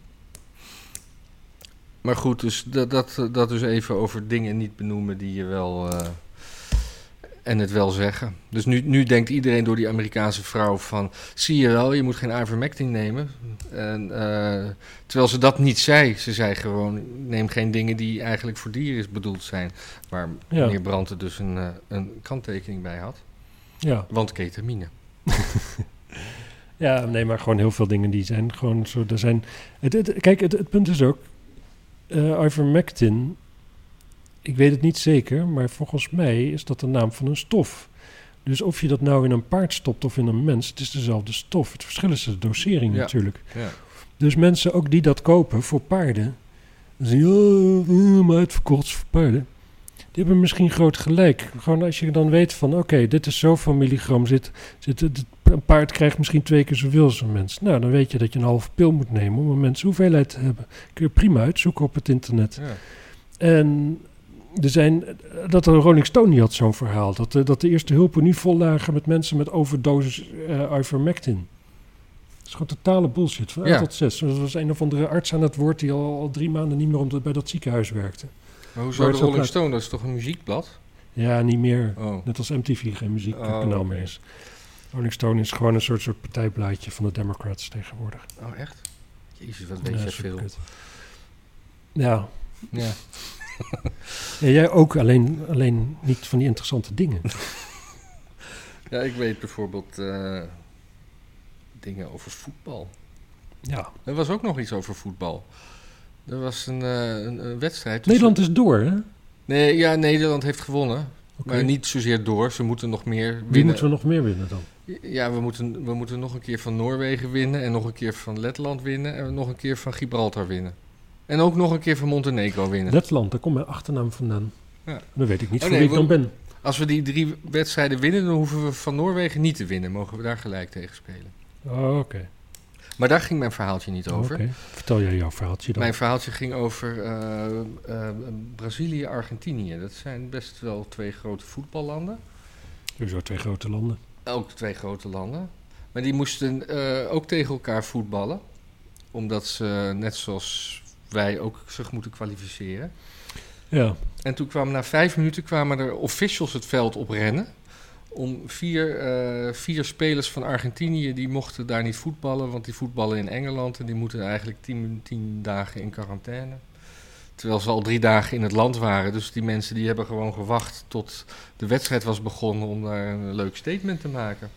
Speaker 2: Maar goed, dus dat, dat, dat dus even over dingen niet benoemen die je wel. eh, en het wel zeggen. Dus nu, nu denkt iedereen door die Amerikaanse vrouw van... zie je wel, je moet geen ivermectin nemen. En, eh, terwijl ze dat niet zei. Ze zei gewoon, neem geen dingen die eigenlijk voor dieren bedoeld zijn. Waar
Speaker 1: Ja.
Speaker 2: meneer Brandt er dus een, eh, een kanttekening bij had.
Speaker 1: Ja,
Speaker 2: Want ketamine.
Speaker 1: ja nee, maar gewoon heel veel dingen die zijn gewoon zo... Er zijn, het, het- kijk, het, het punt is ook, eh ivermectin... Ik weet het niet zeker, maar volgens mij is dat de naam van een stof. Dus of je dat nou in een paard stopt of in een mens, het is dezelfde stof. Het verschil is de dosering
Speaker 2: Ja.
Speaker 1: natuurlijk.
Speaker 2: Ja.
Speaker 1: Dus mensen ook die dat kopen voor paarden, dan zien oh, eh, maar het verkocht is voor paarden. Die hebben misschien groot gelijk. Gewoon als je dan weet van, oké, dit is zoveel milligram zit, zit het- het- een paard krijgt misschien twee keer zoveel als een mens. Nou, dan weet je dat je een halve pil moet nemen om een mens hoeveelheid te hebben. Kun je prima uitzoeken op het internet.
Speaker 2: Ja.
Speaker 1: En er zijn, dat de Rolling Stone die had zo'n verhaal. Dat de, dat de eerste hulpen nu vol lagen met mensen met overdosis eh, ivermectin. Dat is gewoon totale bullshit. Van A
Speaker 2: Ja.
Speaker 1: tot zes. Dat was een of andere arts aan het woord die al, al drie maanden niet meer om de- bij dat ziekenhuis werkte.
Speaker 2: Maar hoe
Speaker 1: Maar
Speaker 2: zou de
Speaker 1: het is ook
Speaker 2: Rolling
Speaker 1: leuk.
Speaker 2: Stone, dat is toch een muziekblad?
Speaker 1: Ja, niet meer.
Speaker 2: Oh.
Speaker 1: Net als MTV geen muziekkanaal
Speaker 2: Oh, oké.
Speaker 1: meer is. Rolling Stone is gewoon een soort, soort partijblaadje van de Democrats tegenwoordig.
Speaker 2: oh, echt? Jezus, wat
Speaker 1: Ja,
Speaker 2: weet jij veel.
Speaker 1: superkut. Ja.
Speaker 2: Ja.
Speaker 1: ja, jij ook, alleen, alleen niet van die interessante dingen.
Speaker 2: ja, ik weet bijvoorbeeld eh, dingen over voetbal.
Speaker 1: Ja.
Speaker 2: Er was ook nog iets over voetbal. Er was een, eh, een, een wedstrijd. tussen-
Speaker 1: Nederland is door, hè?
Speaker 2: Nee, ja, Nederland heeft gewonnen.
Speaker 1: Oké.
Speaker 2: Maar niet zozeer door. Ze moeten nog meer winnen.
Speaker 1: Wie moeten we nog meer winnen dan?
Speaker 2: Ja, we moeten, we moeten nog een keer van Noorwegen winnen. En nog een keer van Letland winnen. En nog een keer van Gibraltar winnen. En ook nog een keer van Montenegro winnen.
Speaker 1: Letland, daar komt mijn achternaam vandaan.
Speaker 2: Ja.
Speaker 1: Dan weet ik niet
Speaker 2: Oh,
Speaker 1: van
Speaker 2: nee,
Speaker 1: wie ik dan
Speaker 2: we-
Speaker 1: ben.
Speaker 2: Als we die drie wedstrijden winnen, dan hoeven we van Noorwegen niet te winnen. Mogen we daar gelijk tegen spelen.
Speaker 1: Oh, Oké,
Speaker 2: Maar daar ging mijn verhaaltje niet over.
Speaker 1: Oké. vertel jij jouw verhaaltje dan.
Speaker 2: Mijn verhaaltje ging over eh, eh, Brazilië Argentinië. Dat zijn best wel twee grote voetballanden.
Speaker 1: Sowieso twee grote landen.
Speaker 2: Ook twee grote landen. Maar die moesten eh, ook tegen elkaar voetballen. Omdat ze, net zoals wij, ook zich moeten kwalificeren.
Speaker 1: Ja,
Speaker 2: En toen kwamen na vijf minuten kwamen er officials het veld oprennen. Om vier, eh, vier spelers van Argentinië, die mochten daar niet voetballen. Want die voetballen in Engeland en die moeten eigenlijk tien, tien dagen in quarantaine. Terwijl ze al drie dagen in het land waren. Dus die mensen die hebben gewoon gewacht tot de wedstrijd was begonnen om daar een leuk statement te maken.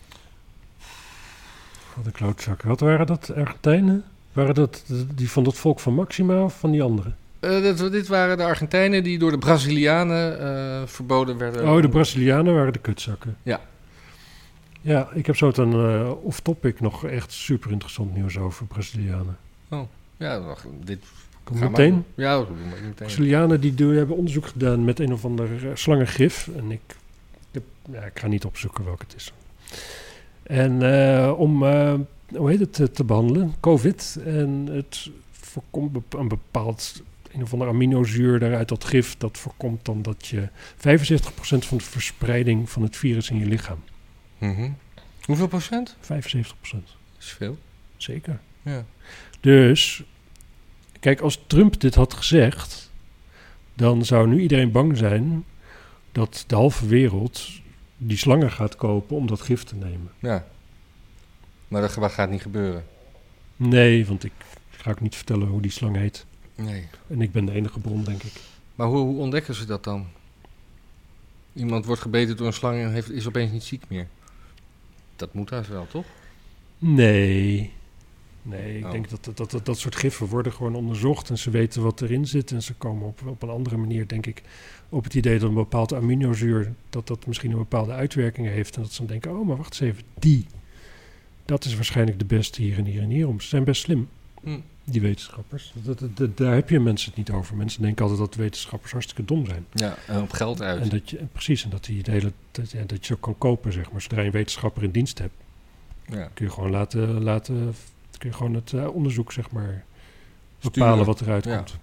Speaker 1: wat een klootzak. Wat waren dat, Argentijnen? Waren dat de- die van dat volk van Maxima of van die anderen?
Speaker 2: Eh, dat, dit waren de Argentijnen die door de Brazilianen eh, verboden werden.
Speaker 1: Oh, de Brazilianen waren de kutzakken.
Speaker 2: Ja.
Speaker 1: Ja, ik heb zo een eh off-topic nog echt super interessant nieuws over Brazilianen.
Speaker 2: Ja, wacht, dit
Speaker 1: Kom
Speaker 2: ga
Speaker 1: meteen.
Speaker 2: maar- Ja, dat doen we meteen.
Speaker 1: Brazilianen die doen, hebben onderzoek gedaan met een of ander eh, slangengif. En ik, ik, heb- ja, ik ga niet opzoeken welke het is. En eh, om, eh, hoe heet het, eh, te behandelen, COVID. En het voorkomt bep- een bepaald, een of ander aminozuur daaruit dat gif. Dat voorkomt dan dat je 75% van de verspreiding van het virus in je lichaam.
Speaker 2: Mhm. Hoeveel procent?
Speaker 1: 75%.
Speaker 2: is veel.
Speaker 1: Zeker.
Speaker 2: Ja.
Speaker 1: Dus, kijk, als Trump dit had gezegd, dan zou nu iedereen bang zijn dat de halve wereld die slangen gaat kopen om dat gif te nemen.
Speaker 2: ja. Maar dat ge- gaat niet gebeuren.
Speaker 1: Nee, want ik ga ook niet vertellen hoe die slang heet.
Speaker 2: Nee.
Speaker 1: En ik ben de enige bron, denk ik.
Speaker 2: Maar hoe, hoe ontdekken ze dat dan? Iemand wordt gebeten door een slang en heeft, is opeens niet ziek meer. Dat moet haast wel, toch?
Speaker 1: Nee. Nee, ik
Speaker 2: Oh.
Speaker 1: denk dat dat, dat, dat dat soort giffen worden gewoon onderzocht en ze weten wat erin zit. En ze komen op, op een andere manier, denk ik, op het idee dat een bepaald aminozuur, dat dat misschien een bepaalde uitwerking heeft. En dat ze dan denken, oh, maar wacht eens even, die, dat is waarschijnlijk de beste hier en hier en hierom. Ze zijn best slim,
Speaker 2: Hm.
Speaker 1: die wetenschappers. Dat, dat- dat- daar heb je mensen het niet over. Mensen denken altijd dat wetenschappers hartstikke dom zijn.
Speaker 2: Ja, en op geld uit.
Speaker 1: En dat je, en precies, en dat, die de hele, dat, ja, dat je ook kan kopen, zeg maar. Zodra je een wetenschapper in dienst hebt,
Speaker 2: Ja.
Speaker 1: kun je gewoon laten, laten kun je gewoon het eh, onderzoek zeg maar bepalen wat eruit
Speaker 2: ja.
Speaker 1: komt.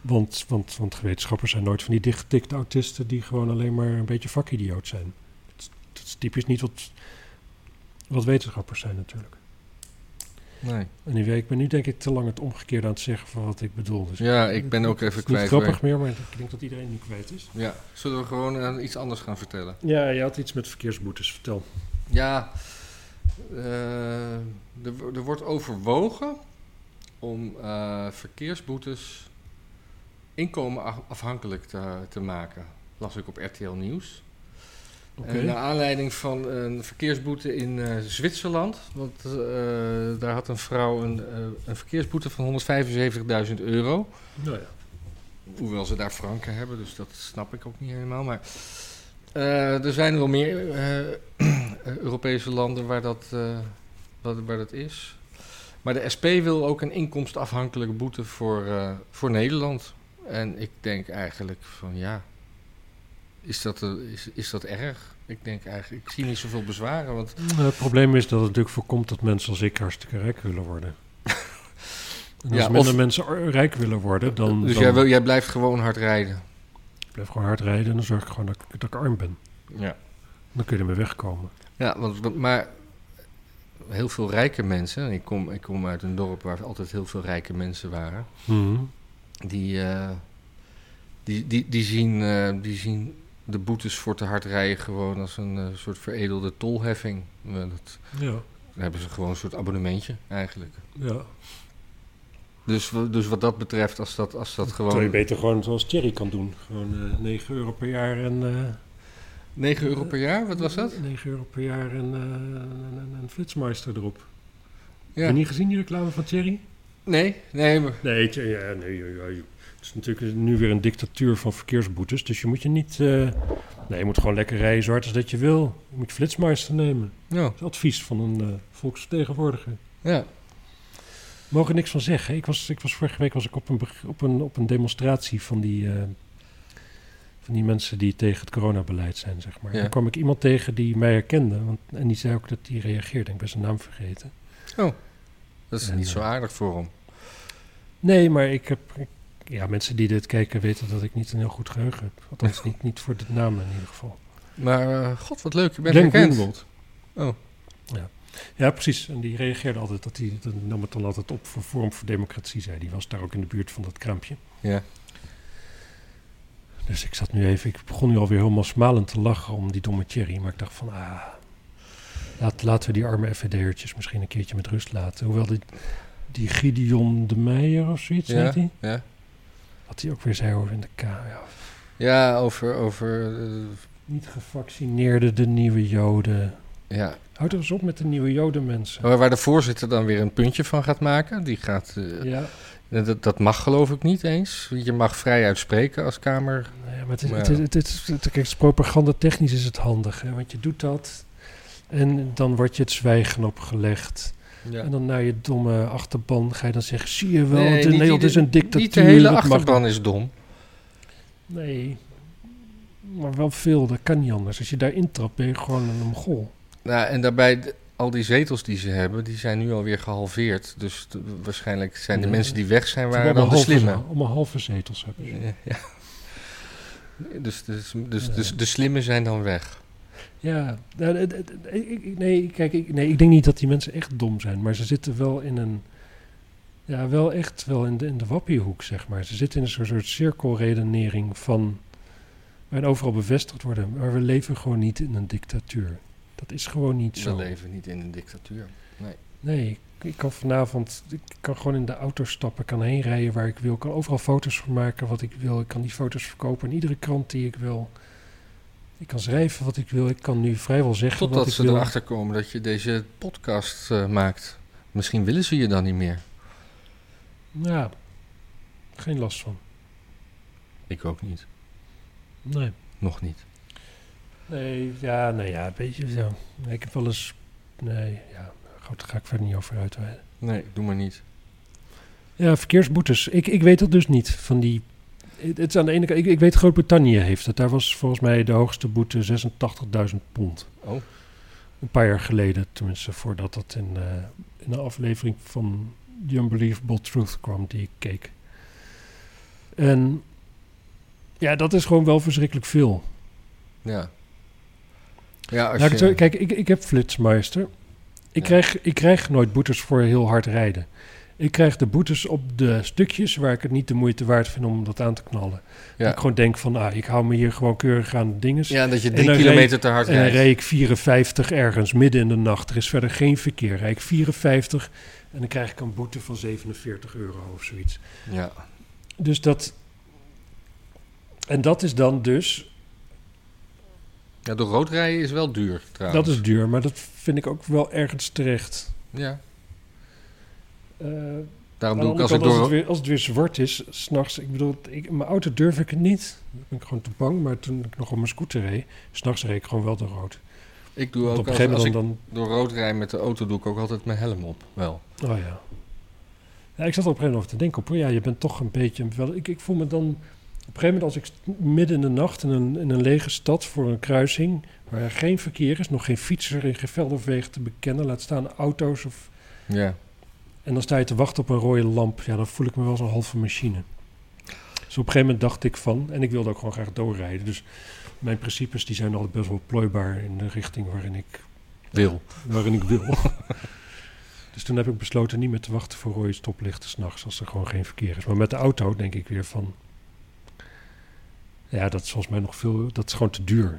Speaker 1: Want, want, want wetenschappers zijn nooit van die dichtgetikte autisten die gewoon alleen maar een beetje vakidioot zijn. Dat, is- dat is typisch niet wat, wat wetenschappers zijn natuurlijk.
Speaker 2: Nee.
Speaker 1: En anyway, ik ben nu denk ik te lang het omgekeerde aan het zeggen van wat ik bedoel. Dus
Speaker 2: Ja, ik ben ook
Speaker 1: het
Speaker 2: even
Speaker 1: is niet
Speaker 2: kwijt.
Speaker 1: grappig meer, maar ik denk dat iedereen nu kwijt is.
Speaker 2: hoor. Ja. Zullen we gewoon eh, iets anders gaan vertellen?
Speaker 1: Ja, je had iets met verkeersboetes, vertel.
Speaker 2: Ja, eh, er, wo- er wordt overwogen om eh, verkeersboetes inkomenafhankelijk te, te maken. Las ik op RTL Nieuws.
Speaker 1: Oké.
Speaker 2: En naar aanleiding van een verkeersboete in eh, Zwitserland. Want eh, daar had een vrouw een, eh, een verkeersboete van 175.000 euro.
Speaker 1: Nou ja.
Speaker 2: Hoewel ze daar franken hebben, dus dat snap ik ook niet helemaal. Maar Eh, er zijn wel meer eh, Europese landen waar dat, eh, wat- waar dat is. Maar de SP wil ook een inkomstenafhankelijke boete voor, eh, voor Nederland. En ik denk eigenlijk van ja, is dat, eh, is, is dat erg? Ik denk eigenlijk, ik zie niet zoveel bezwaren. Want
Speaker 1: Eh, het probleem is dat het natuurlijk voorkomt dat mensen als ik hartstikke rijk willen worden. En als
Speaker 2: Ja,
Speaker 1: minder
Speaker 2: of-
Speaker 1: mensen ar- rijk willen worden, dan,
Speaker 2: dus
Speaker 1: dan
Speaker 2: jij, wil, jij blijft gewoon hard rijden.
Speaker 1: ik blijf gewoon hard rijden en dan zorg ik gewoon dat ik, dat ik arm ben.
Speaker 2: Ja.
Speaker 1: Dan kun je ermee wegkomen.
Speaker 2: Ja, want, maar heel veel rijke mensen. Ik kom, ik kom uit een dorp waar altijd heel veel rijke mensen waren.
Speaker 1: Mhm.
Speaker 2: Die, eh, die, die, die, zien, eh, die zien de boetes voor te hard rijden gewoon als een eh, soort veredelde tolheffing. Eh, dat,
Speaker 1: Ja,
Speaker 2: dan hebben ze gewoon een soort abonnementje eigenlijk.
Speaker 1: ja.
Speaker 2: Dus, wa- dus wat dat betreft, als dat, als dat
Speaker 1: Terwijl je
Speaker 2: gewoon
Speaker 1: beter gewoon zoals Thierry kan doen. Gewoon eh 9 euro per jaar en... eh,
Speaker 2: 9 euro per jaar, wat was dat?
Speaker 1: 9 euro per jaar en eh, een, een, een flitsmeister erop. Heb
Speaker 2: Ja.
Speaker 1: je niet gezien die reclame van Thierry?
Speaker 2: Nee, nee, maar
Speaker 1: Nee, Thierry, ja, nee ja, ja, ja. het is natuurlijk nu weer een dictatuur van verkeersboetes. Dus je moet je niet... eh, nee, je moet gewoon lekker rijden zo hard als dat je wil. Je moet flitsmeister nemen.
Speaker 2: ja.
Speaker 1: Dat is advies van een eh, volksvertegenwoordiger.
Speaker 2: ja.
Speaker 1: We mogen niks van zeggen. Ik was, ik was vorige week was ik op een, beg- op een, op een demonstratie van die, eh, van die mensen die tegen het coronabeleid zijn, zeg maar.
Speaker 2: Ja.
Speaker 1: Daar kwam ik iemand tegen die mij herkende. Want, en die zei ook dat hij reageerde. Ik ben zijn naam vergeten.
Speaker 2: Dat is
Speaker 1: En,
Speaker 2: niet zo
Speaker 1: eh,
Speaker 2: aardig voor hem.
Speaker 1: Nee, maar ik heb... ik- ja, mensen die dit kijken weten dat ik niet een heel goed geheugen heb. Althans, niet, niet voor de namen in ieder geval.
Speaker 2: Maar eh, god, wat leuk, je bent
Speaker 1: Glenn
Speaker 2: herkend.
Speaker 1: Greenwald.
Speaker 2: Oh.
Speaker 1: Ja. ja, precies. En die reageerde altijd, dat hij dat nam het dan altijd op voor Forum voor Democratie, zei Die was daar ook in de buurt van dat kraampje.
Speaker 2: Ja.
Speaker 1: Dus ik zat nu even, ik begon nu alweer helemaal smalend te lachen om die domme Thierry. Maar ik dacht van, ah, laat, laten we die arme FVD'ertjes misschien een keertje met rust laten. Hoewel die, die Gideon de Meijer of zoiets,
Speaker 2: Ja.
Speaker 1: heet die?
Speaker 2: Ja.
Speaker 1: Wat hij ook weer zei over in de Kamer. Ja,
Speaker 2: Ja, over. over eh,
Speaker 1: niet gevaccineerden, de nieuwe joden.
Speaker 2: ja.
Speaker 1: Houd er eens op met de nieuwe joden, mensen.
Speaker 2: Waar waar de voorzitter dan weer een puntje van gaat maken. Die gaat, eh,
Speaker 1: Ja,
Speaker 2: dat, dat mag geloof ik niet eens. Je mag vrij uitspreken als Kamer.
Speaker 1: nou ja, maar het is,
Speaker 2: Maar
Speaker 1: het
Speaker 2: ja.
Speaker 1: is, het is, het- kijk, het is propagandatechnisch is het handig. Hè? Want je doet dat en dan wordt je het zwijgen opgelegd.
Speaker 2: Ja.
Speaker 1: En dan naar je domme achterban ga je dan zeggen... zie je wel,
Speaker 2: Nee,
Speaker 1: het,
Speaker 2: niet
Speaker 1: Nederland
Speaker 2: die-
Speaker 1: is een dictatuur.
Speaker 2: Niet de hele
Speaker 1: dat mag
Speaker 2: achterban is dom.
Speaker 1: niet. Nee, maar wel veel, dat kan niet anders. Als je daar intrapt ben je gewoon een mongool.
Speaker 2: Nou, en daarbij, d- al die zetels die ze hebben, die zijn nu alweer gehalveerd. Dus t- waarschijnlijk zijn de
Speaker 1: Ja.
Speaker 2: mensen die weg zijn,
Speaker 1: Terwijl
Speaker 2: waren dan de
Speaker 1: halve,
Speaker 2: slimme.
Speaker 1: allemaal halve zetels hebben ze.
Speaker 2: Ja. Dus, dus, dus,
Speaker 1: Ja.
Speaker 2: dus de slimme zijn dan weg.
Speaker 1: Ja, nou, het- het- het- ik- ik- nee, kijk, ik, nee, ik denk niet dat die mensen echt dom zijn, maar ze zitten wel in een. Ja, wel echt wel in de, in de wappiehoek, zeg maar. Ze zitten in een soort, soort cirkelredenering van. waarin overal bevestigd worden. Maar we leven gewoon niet in een dictatuur. Dat is gewoon niet
Speaker 2: Ze
Speaker 1: zo.
Speaker 2: leven niet in een dictatuur.
Speaker 1: Nee, ik, ik kan vanavond. Ik kan gewoon in de auto stappen, kan heen rijden waar ik wil. Ik kan overal foto's van maken wat ik wil. Ik kan die foto's verkopen in iedere krant die ik wil. Ik kan schrijven wat ik wil. Ik kan nu vrijwel zeggen wat
Speaker 2: Totdat
Speaker 1: ik
Speaker 2: ze
Speaker 1: wil.
Speaker 2: erachter komen dat je deze podcast eh, maakt. Misschien willen ze je dan niet meer.
Speaker 1: Ja, geen last van.
Speaker 2: Ik ook niet.
Speaker 1: Nee.
Speaker 2: Nog niet.
Speaker 1: Nee, ja, nou ja, een beetje zo. Nee, ik heb wel eens... Nee, ja, goed, daar ga ik verder niet over uitweiden.
Speaker 2: Nee, doe maar niet.
Speaker 1: Ja, verkeersboetes. Ik, ik weet dat dus niet, van die... Het het is aan de ene kant... Ik, ik weet Groot-Brittannië heeft het. Daar was volgens mij de hoogste boete 86.000 pond.
Speaker 2: Oh.
Speaker 1: Een paar jaar geleden, tenminste, voordat dat in, eh, in een aflevering van The Unbelievable Truth kwam, die ik keek. En ja, dat is gewoon wel verschrikkelijk veel.
Speaker 2: Ja. Ja, als
Speaker 1: Laat ik het
Speaker 2: je...
Speaker 1: zo- Nou, kijk, ik, ik heb flitsmeister. Ik,
Speaker 2: Ja.
Speaker 1: krijg, ik krijg nooit boetes voor heel hard rijden. Ik krijg de boetes op de stukjes waar ik het niet de moeite waard vind om dat aan te knallen.
Speaker 2: Ja.
Speaker 1: Dat ik gewoon denk van, ah, ik hou me hier gewoon keurig aan de dingen.
Speaker 2: ja, dat je
Speaker 1: En
Speaker 2: drie
Speaker 1: dan
Speaker 2: kilometer te hard
Speaker 1: En dan
Speaker 2: rijdt.
Speaker 1: rijd ik 54 ergens midden in de nacht. Er is verder geen verkeer. Rijd ik 54 en dan krijg ik een boete van 47 euro of zoiets.
Speaker 2: Ja.
Speaker 1: Dus dat... En dat is dan dus
Speaker 2: ja, door rood rijden is wel duur trouwens.
Speaker 1: Dat is duur, maar dat vind ik ook wel ergens terecht.
Speaker 2: Ja.
Speaker 1: Eh,
Speaker 2: Daarom
Speaker 1: Aan
Speaker 2: doe ik
Speaker 1: de
Speaker 2: als
Speaker 1: andere kant,
Speaker 2: ik
Speaker 1: als,
Speaker 2: door...
Speaker 1: het weer, als het weer zwart is, s'nachts, ik bedoel, ik, in mijn auto durf ik het niet. Dan ben ik gewoon te bang. Maar toen ik nog op mijn scooter reed, s'nachts reed ik gewoon wel door rood.
Speaker 2: Ik doe
Speaker 1: Want op
Speaker 2: ook
Speaker 1: een
Speaker 2: als,
Speaker 1: gegeven
Speaker 2: als
Speaker 1: moment
Speaker 2: ik
Speaker 1: dan,
Speaker 2: door rood rij met de auto, doe ik ook altijd mijn helm op. Wel.
Speaker 1: Oh ja. ja. Ik zat er op een gegeven moment over te denken. Op, ja, je bent toch een beetje... Wel, ik, ik voel me dan... Op een gegeven moment als ik st- midden in de nacht in een, in een lege stad voor een kruising... waar er geen verkeer is, nog geen fietser in geen veld of wegen te bekennen... laat staan auto's of...
Speaker 2: Ja.
Speaker 1: En dan sta je te wachten op een rode lamp. Ja, dan voel ik me wel als een halve machine. Dus op een gegeven moment dacht ik van... En ik wilde ook gewoon graag doorrijden. Dus mijn principes die zijn altijd best wel plooibaar... in de richting waarin ik
Speaker 2: Wil.
Speaker 1: waarin ik wil. dus toen heb ik besloten niet meer te wachten voor rode stoplichten s'nachts als er gewoon geen verkeer is. Maar met de auto denk ik weer van. Ja, dat is volgens mij nog veel. Dat is gewoon te duur.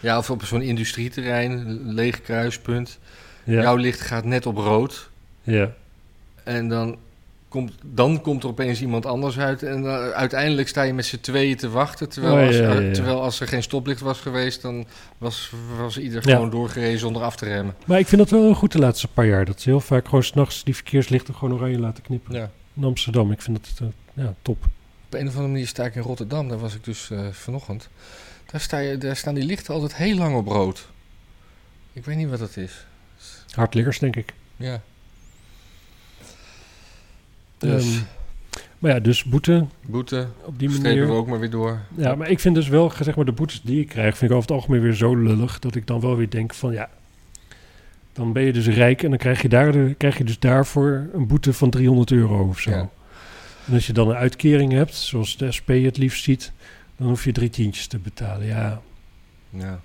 Speaker 2: Ja, of op zo'n industrieterrein, een leeg kruispunt.
Speaker 1: Ja.
Speaker 2: Jouw licht gaat net op rood.
Speaker 1: ja.
Speaker 2: En dan komt, dan komt er opeens iemand anders uit. En dan uiteindelijk sta je met z'n tweeën te wachten. Terwijl,
Speaker 1: Oh, ja,
Speaker 2: als, eh,
Speaker 1: ja, ja.
Speaker 2: terwijl als er geen stoplicht was geweest, dan was, was ieder
Speaker 1: Ja.
Speaker 2: gewoon doorgereden zonder af te remmen.
Speaker 1: Maar ik vind dat wel heel goed de laatste paar jaar. Dat ze heel vaak gewoon s'nachts die verkeerslichten gewoon oranje laten knippen.
Speaker 2: Ja.
Speaker 1: In Amsterdam, ik vind dat eh, ja, top.
Speaker 2: Op een of andere manier sta ik in Rotterdam, daar was ik dus eh, vanochtend. Daar, sta je, daar staan die lichten altijd heel lang op rood. Ik weet niet wat dat is.
Speaker 1: Hardliggers, denk ik.
Speaker 2: Ja.
Speaker 1: Ehm, maar ja, dus boete
Speaker 2: Dus, boete,
Speaker 1: op die
Speaker 2: strepen
Speaker 1: manier.
Speaker 2: we ook maar weer door.
Speaker 1: Ja, maar ik vind dus wel, zeg maar, de boetes die ik krijg, vind ik over het algemeen weer zo lullig dat ik dan wel weer denk van ja, dan ben je dus rijk en dan krijg je, daar de, krijg je dus daarvoor een boete van 300 euro of zo.
Speaker 2: Ja.
Speaker 1: En als je dan een uitkering hebt, zoals de SP het liefst ziet, dan hoef je drie tientjes te betalen. Ja,
Speaker 2: Ja.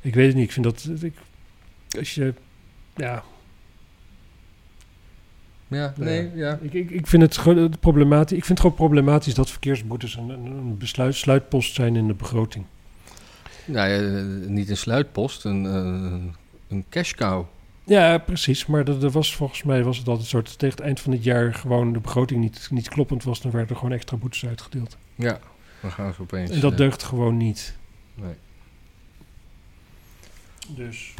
Speaker 1: ik weet het niet. Ik vind dat, ik, als je, ja,
Speaker 2: Ja, nee, ja.
Speaker 1: Ik, ik, ik vind het gewoon, eh, problematisch. Ik vind het gewoon problematisch dat verkeersboetes een, een, een besluit, sluitpost zijn in de begroting.
Speaker 2: Nou ja, eh, niet een sluitpost, een, eh, een cash cow.
Speaker 1: Ja, precies. Maar er, er was volgens mij was het altijd een soort tegen het eind van het jaar gewoon de begroting niet, niet kloppend was, dan werden er gewoon extra boetes uitgedeeld.
Speaker 2: Ja, dan gaan ze opeens.
Speaker 1: En dat
Speaker 2: eh,
Speaker 1: deugt gewoon niet.
Speaker 2: nee.
Speaker 1: Dus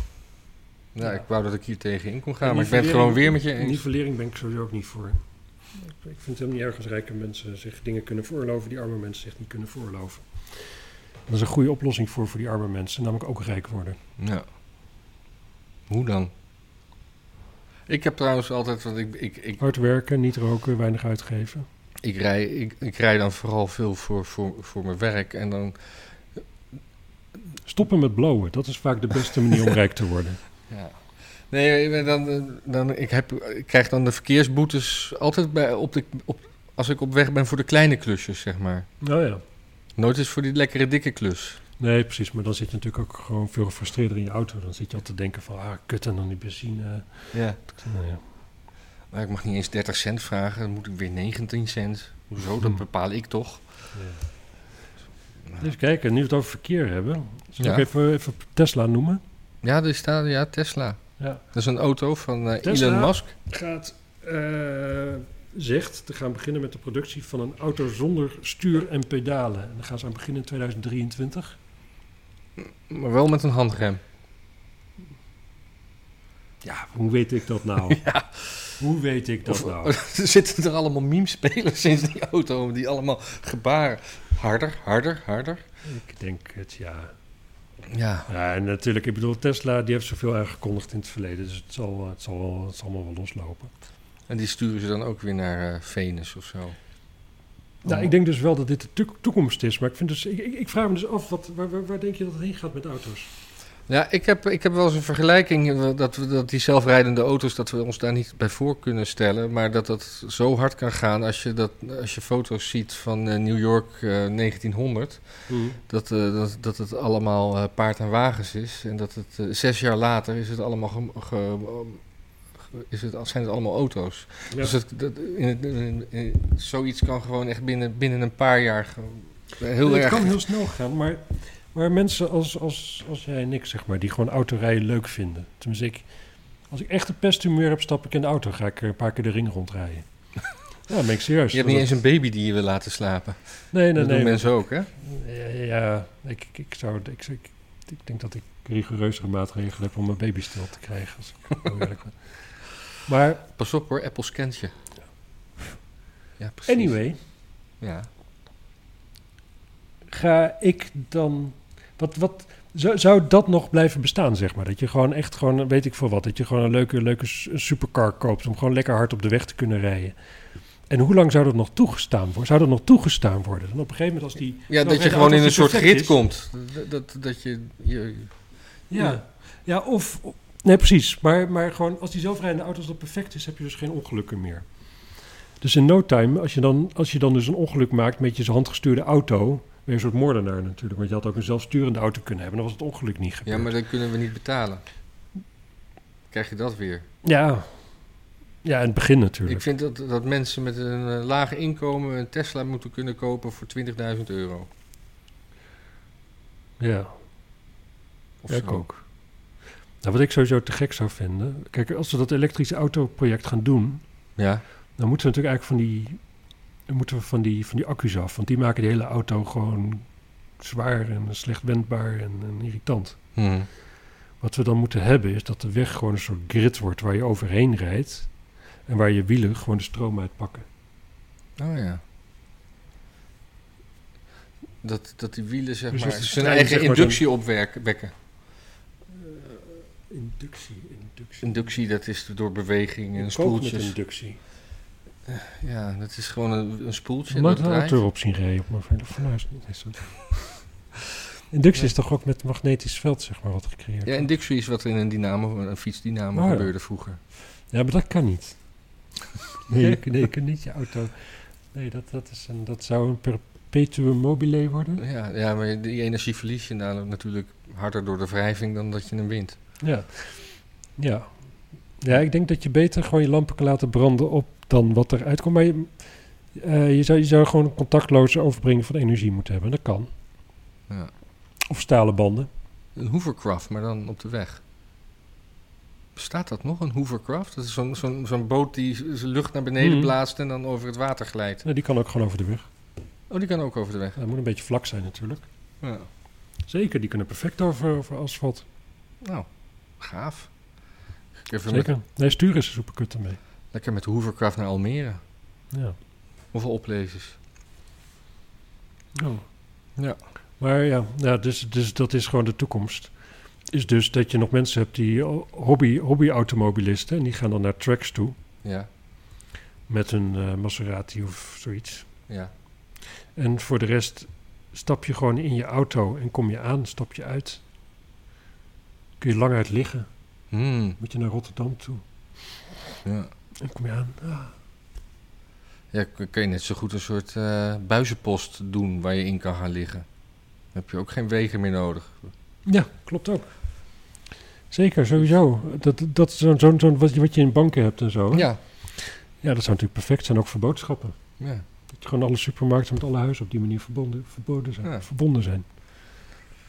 Speaker 2: Nou,
Speaker 1: Ja.
Speaker 2: ik wou dat ik hier tegenin kon gaan,
Speaker 1: En
Speaker 2: maar ik ben het
Speaker 1: nivellering-
Speaker 2: gewoon weer met je eens.
Speaker 1: nivellering ben ik sowieso ook niet voor. Ik vind het helemaal niet erg als rijke mensen zich dingen kunnen veroorloven die arme mensen zich niet kunnen veroorloven. Dat is een goede oplossing voor, voor die arme mensen, namelijk ook rijk worden.
Speaker 2: Ja. Hoe dan? Ik heb trouwens altijd, want ik, ik, ik,
Speaker 1: Hard werken, niet roken, weinig uitgeven.
Speaker 2: ik, rij, ik, ik rij dan vooral veel voor, voor, voor mijn werk. En dan,
Speaker 1: Stoppen met blowen, dat is vaak de beste manier om rijk te worden.
Speaker 2: ja. Nee, eh, dan, eh, dan, ik, heb, ik krijg dan de verkeersboetes altijd bij, op de, op, als ik op weg ben voor de kleine klusjes, zeg maar.
Speaker 1: Nou ja.
Speaker 2: Nooit eens voor die lekkere dikke klus.
Speaker 1: Nee, precies. Maar dan zit je natuurlijk ook gewoon veel gefrustreerder in je auto. Dan zit je al te denken van, ah, kut, en dan die benzine.
Speaker 2: Ja.
Speaker 1: Nou ja.
Speaker 2: Maar ik mag niet eens 30 cent vragen, dan moet ik weer 19 cent. Hoezo? Dat
Speaker 1: Hmm.
Speaker 2: bepaal ik toch.
Speaker 1: Dus kijken, nu we het over verkeer hebben. Zal ik
Speaker 2: Ja.
Speaker 1: even, even Tesla noemen?
Speaker 2: Ja, er staat ja, Tesla.
Speaker 1: Ja.
Speaker 2: Dat is een auto van eh,
Speaker 1: Tesla?
Speaker 2: Elon Musk.
Speaker 1: Gaat, eh, zegt te gaan beginnen met de productie van een auto zonder stuur en pedalen. En daar gaan ze aan beginnen in 2023.
Speaker 2: Maar wel met een handrem.
Speaker 1: Ja, Ah, hoe weet ik dat nou? Hoe weet ik dat
Speaker 2: Of-
Speaker 1: nou?
Speaker 2: er zitten er allemaal memespelers sinds die auto. Die allemaal gebaren. Harder, harder, harder.
Speaker 1: Ik denk het, ja.
Speaker 2: Ja.
Speaker 1: Ja, en natuurlijk, ik bedoel, Tesla die heeft zoveel aangekondigd in het verleden. Dus het zal, eh, het zal, wel- het zal allemaal wel loslopen.
Speaker 2: En die sturen ze dan ook weer naar eh, Venus of zo.
Speaker 1: Nou, ik denk dus wel dat dit de toek- toekomst is. Maar ik, vind dus, ik, ik, ik vraag me dus af, wat, waar, waar, waar denk je dat het heen gaat met auto's?
Speaker 2: Ja, ik heb, ik heb wel eens een vergelijking eh, dat, we, dat die zelfrijdende auto's, dat we ons daar niet bij voor kunnen stellen. Maar dat dat zo hard kan gaan als je, dat, als je foto's ziet van eh, New York eh, 1900. Dat, eh, dat, dat het allemaal eh, paard en wagens is. En dat het eh, zes jaar later is het allemaal gem- ge- ge- is het, zijn het allemaal auto's.
Speaker 1: Ja.
Speaker 2: Dus dat, dat, in, het- in- in- zoiets kan gewoon echt binnen, binnen een paar jaar ge- heel
Speaker 1: het
Speaker 2: erg.
Speaker 1: kan heel snel gaan, maar, maar mensen als, als, als jij en ik, zeg maar, die gewoon autorijden leuk vinden. Tenminste, ik, als ik echt een pesthumeur heb, stap ik in de auto, ga ik er een paar keer de ring rondrijden. ja, dan ben ik serieus.
Speaker 2: Je hebt niet eens een baby die je wil laten slapen.
Speaker 1: Nee, nee,
Speaker 2: dat doen
Speaker 1: nee.
Speaker 2: mensen ook, hè?
Speaker 1: Ja, ja, ik, ik, zou, ik, ik, ik denk dat ik rigoureuzere maatregelen heb om mijn baby stil te krijgen. Als ik heel eerlijk ben. Maar
Speaker 2: Pas op hoor, Apple scant je. Ja, precies.
Speaker 1: anyway,
Speaker 2: Ja.
Speaker 1: ga ik dan. Wat, wat, zou, zou dat nog blijven bestaan, zeg maar? Dat je gewoon echt gewoon, weet ik voor wat, dat je gewoon een leuke, leuke s- een supercar koopt om gewoon lekker hard op de weg te kunnen rijden. En hoe lang zou dat nog toegestaan worden? Zou dat nog toegestaan worden? Dan op een gegeven moment als die.
Speaker 2: ja,
Speaker 1: Nou,
Speaker 2: dat je
Speaker 1: en
Speaker 2: gewoon
Speaker 1: als
Speaker 2: in een
Speaker 1: die
Speaker 2: soort
Speaker 1: perfect
Speaker 2: grid
Speaker 1: is-
Speaker 2: komt. Dat, dat, dat je, je...
Speaker 1: Ja, ja of. Nee, precies. Maar, maar gewoon als die zelfrijdende auto als dat perfect is, heb je dus geen ongelukken meer. Dus in no time, als je dan, als je dan dus een ongeluk maakt met je handgestuurde auto, ben je een soort moordenaar natuurlijk. Want je had ook een zelfsturende auto kunnen hebben, dan was het ongeluk niet gebeurd.
Speaker 2: Ja, maar dan kunnen we niet betalen. Krijg je dat weer?
Speaker 1: Ja, ja in het begin natuurlijk.
Speaker 2: Ik vind dat, dat mensen met een eh, laag inkomen een Tesla moeten kunnen kopen voor 20.000 euro.
Speaker 1: Ja,
Speaker 2: Of
Speaker 1: ik
Speaker 2: zo.
Speaker 1: ook. Nou, wat ik sowieso te gek zou vinden. Kijk, als we dat elektrische autoproject gaan doen,
Speaker 2: Ja.
Speaker 1: dan moeten we natuurlijk eigenlijk van die, dan moeten we van die, van die accu's af. Want die maken die hele auto gewoon zwaar en slecht wendbaar en, en irritant.
Speaker 2: Hm.
Speaker 1: Wat we dan moeten hebben is dat de weg gewoon een soort grid wordt waar je overheen rijdt. En waar je wielen gewoon de stroom uitpakken.
Speaker 2: Oh ja. Dat, dat die wielen zeg
Speaker 1: Dus
Speaker 2: maar
Speaker 1: dat is
Speaker 2: zijn
Speaker 1: trein,
Speaker 2: eigen
Speaker 1: zeg maar,
Speaker 2: inductie opwekken.
Speaker 1: Inductie, inductie.
Speaker 2: Inductie, dat is door beweging
Speaker 1: Een
Speaker 2: en
Speaker 1: kook met
Speaker 2: spoeltjes.
Speaker 1: inductie.
Speaker 2: Ja, dat is gewoon een, een spoeltje.
Speaker 1: Je moet
Speaker 2: dat
Speaker 1: een
Speaker 2: draait.
Speaker 1: auto erop zien rijden op mijn telefoon. Is dat- Inductie is toch ook met magnetisch veld, zeg maar, wat gecreëerd
Speaker 2: Ja,
Speaker 1: wordt?
Speaker 2: inductie is wat er in een dynamo, een fietsdynamo
Speaker 1: Oh ja.
Speaker 2: gebeurde vroeger.
Speaker 1: Ja, maar dat kan niet. Nee, je, nee, je kunt niet je auto... Nee, dat, dat, is een, dat zou een perpetuum mobile worden.
Speaker 2: Ja, ja, maar die energie verlies je namelijk natuurlijk harder door de wrijving dan dat je hem wint.
Speaker 1: Ja. Ja. Ja, ik denk dat je beter gewoon je lampen kan laten branden op dan wat eruit komt. Maar je, eh, je, zou, je zou gewoon een contactloze overbrenging van energie moeten hebben. Dat kan.
Speaker 2: Ja.
Speaker 1: Of stalen banden.
Speaker 2: Een hovercraft, maar dan op de weg. Bestaat dat nog, een hovercraft? Dat is zo'n zo'n zo'n boot die z- lucht naar beneden
Speaker 1: Mhm.
Speaker 2: blaast en dan over het water glijdt.
Speaker 1: Nou, die kan ook gewoon over de weg.
Speaker 2: Oh, die kan ook over de weg.
Speaker 1: Dat moet een beetje vlak zijn natuurlijk.
Speaker 2: Ja.
Speaker 1: Zeker, die kunnen perfect over, over asfalt.
Speaker 2: Nou, gaaf. Even met,
Speaker 1: Zeker. Nee, stuur is een superkut ermee.
Speaker 2: lekker met de hovercraft naar Almere.
Speaker 1: Ja.
Speaker 2: Hoeveel oplezers?
Speaker 1: Oh.
Speaker 2: Ja.
Speaker 1: Maar ja, ja dus, dus dat is gewoon de toekomst. Is dus dat je nog mensen hebt die oh, hobby, hobby-automobilisten... en die gaan dan naar tracks toe
Speaker 2: Ja,
Speaker 1: met een eh, Maserati of zoiets.
Speaker 2: ja.
Speaker 1: En voor de rest stap je gewoon in je auto en kom je aan, stap je uit. Kun je lang uit liggen,
Speaker 2: Hmm,
Speaker 1: moet je naar Rotterdam toe.
Speaker 2: ja.
Speaker 1: En kom je aan, Ah.
Speaker 2: Ja, k- kun je net zo goed een soort eh, buizenpost doen waar je in kan gaan liggen. Dan heb je ook geen wegen meer nodig.
Speaker 1: Ja, klopt ook. Zeker, sowieso. Dat, dat is zo'n, zo'n, zo'n- wat, je, wat je in banken hebt en zo. hè?
Speaker 2: Ja.
Speaker 1: Ja, dat zou natuurlijk perfect zijn, ook voor boodschappen.
Speaker 2: ja.
Speaker 1: Dat je gewoon alle supermarkten met alle huizen op die manier verbonden, verboden zijn,
Speaker 2: Ja.
Speaker 1: verbonden zijn.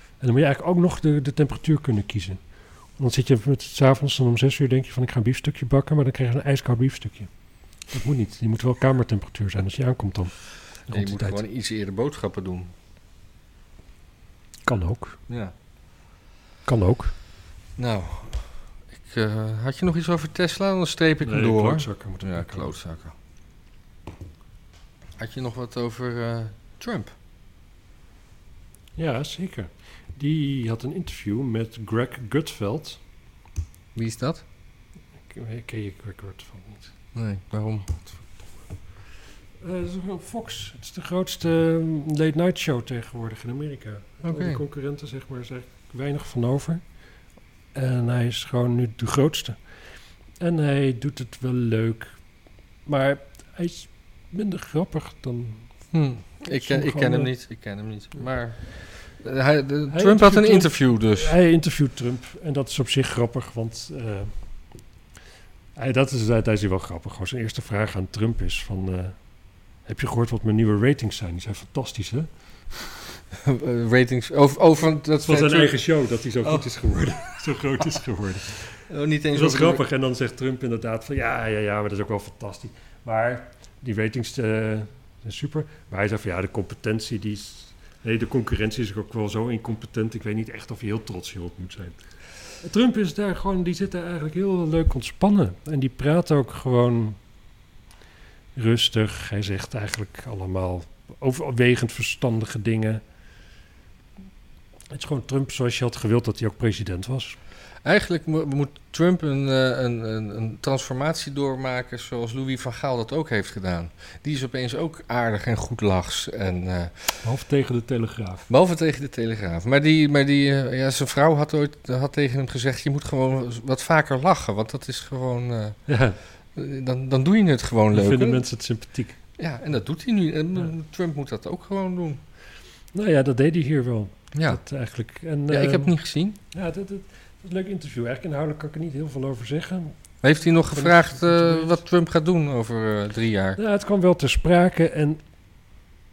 Speaker 1: En dan moet je eigenlijk ook nog de, de temperatuur kunnen kiezen. Want dan zit je met s'avonds dan om zes uur denk je van ik ga een biefstukje bakken, maar dan krijg je een ijskoud biefstukje. Dat moet niet. Die moet wel kamertemperatuur zijn als je aankomt dan. Rond
Speaker 2: En je
Speaker 1: die
Speaker 2: moet
Speaker 1: tijd.
Speaker 2: gewoon iets eerder boodschappen doen.
Speaker 1: Kan ook.
Speaker 2: Ja.
Speaker 1: Kan ook.
Speaker 2: Nou, ik, eh, had je nog iets over Tesla? Dan streep ik hem door. hoor.
Speaker 1: klootzakken moeten
Speaker 2: Ja,
Speaker 1: pakken.
Speaker 2: klootzakken. Had je nog wat over eh, Trump?
Speaker 1: Ja, zeker. Die had een interview met Greg Gutveld.
Speaker 2: Wie is dat?
Speaker 1: Ik- eh, Ken je Greg Gutveld niet?
Speaker 2: Nee, waarom?
Speaker 1: Eh, dat is een Fox. Het is de grootste eh, late night show tegenwoordig in Amerika. Al
Speaker 2: Oké.
Speaker 1: die concurrenten, zeg maar, is eigenlijk weinig van over. En hij is gewoon nu de grootste. En hij doet het wel leuk. Maar hij is minder grappig dan...
Speaker 2: Hm, Ik, ken, ik
Speaker 1: Sommige
Speaker 2: ken hem
Speaker 1: andere-
Speaker 2: niet, ik ken hem niet. Maar eh, hij, de- Trump
Speaker 1: interviewt
Speaker 2: had een
Speaker 1: hem.
Speaker 2: interview dus.
Speaker 1: Hij interviewt Trump. En dat is op zich grappig, want... eh, hij, dat is, daar is hij wel grappig. Gewoon zijn eerste vraag aan Trump is van... eh, heb je gehoord wat mijn nieuwe ratings zijn? Die zijn fantastisch, hè?
Speaker 2: Eh, Ratings over, over dat
Speaker 1: Het was
Speaker 2: Trump-
Speaker 1: een eigen show dat hij zo
Speaker 2: Oh.
Speaker 1: goed is geworden. zo groot is geworden.
Speaker 2: Oh, niet
Speaker 1: Dus
Speaker 2: eens
Speaker 1: dat is
Speaker 2: over-
Speaker 1: grappig. En dan zegt Trump inderdaad van ja, ja, ja, maar dat is ook wel fantastisch. Maar die ratings eh, zijn super. Maar hij zegt van ja, de competentie die is... Nee, de concurrentie is ook wel zo incompetent. Ik weet niet echt of je heel trots hierop moet zijn. Trump is daar gewoon, die zit daar eigenlijk heel leuk ontspannen. En die praat ook gewoon rustig. Hij zegt eigenlijk allemaal overwegend verstandige dingen. Het is gewoon Trump zoals je had gewild dat hij ook president was.
Speaker 2: Eigenlijk mo- moet Trump een, eh, een, een, een transformatie doormaken zoals Louis van Gaal dat ook heeft gedaan. Die is opeens ook aardig en goed lachs. En, eh,
Speaker 1: Half tegen de Telegraaf.
Speaker 2: behalve tegen de Telegraaf. Maar, die, maar die, eh, ja, zijn vrouw had ooit had tegen hem gezegd, je moet gewoon wat vaker lachen. Want dat is gewoon, eh,
Speaker 1: Ja,
Speaker 2: dan, dan doe je het gewoon
Speaker 1: dan
Speaker 2: leuk.
Speaker 1: vinden
Speaker 2: hè?
Speaker 1: mensen het sympathiek.
Speaker 2: Ja, en dat doet hij nu. En eh, Trump moet dat ook gewoon doen.
Speaker 1: Nou ja, dat deed hij hier wel.
Speaker 2: Ja,
Speaker 1: Dat eigenlijk. En,
Speaker 2: ja ik
Speaker 1: eh,
Speaker 2: heb het niet gezien.
Speaker 1: Ja, dat, dat, dat is een leuk interview. Eigenlijk inhoudelijk kan ik er niet heel veel over zeggen.
Speaker 2: Heeft hij nog
Speaker 1: Van-
Speaker 2: gevraagd
Speaker 1: van-
Speaker 2: eh,
Speaker 1: van-
Speaker 2: wat Trump gaat doen over eh, drie jaar?
Speaker 1: Ja, Nou, het kwam wel ter sprake en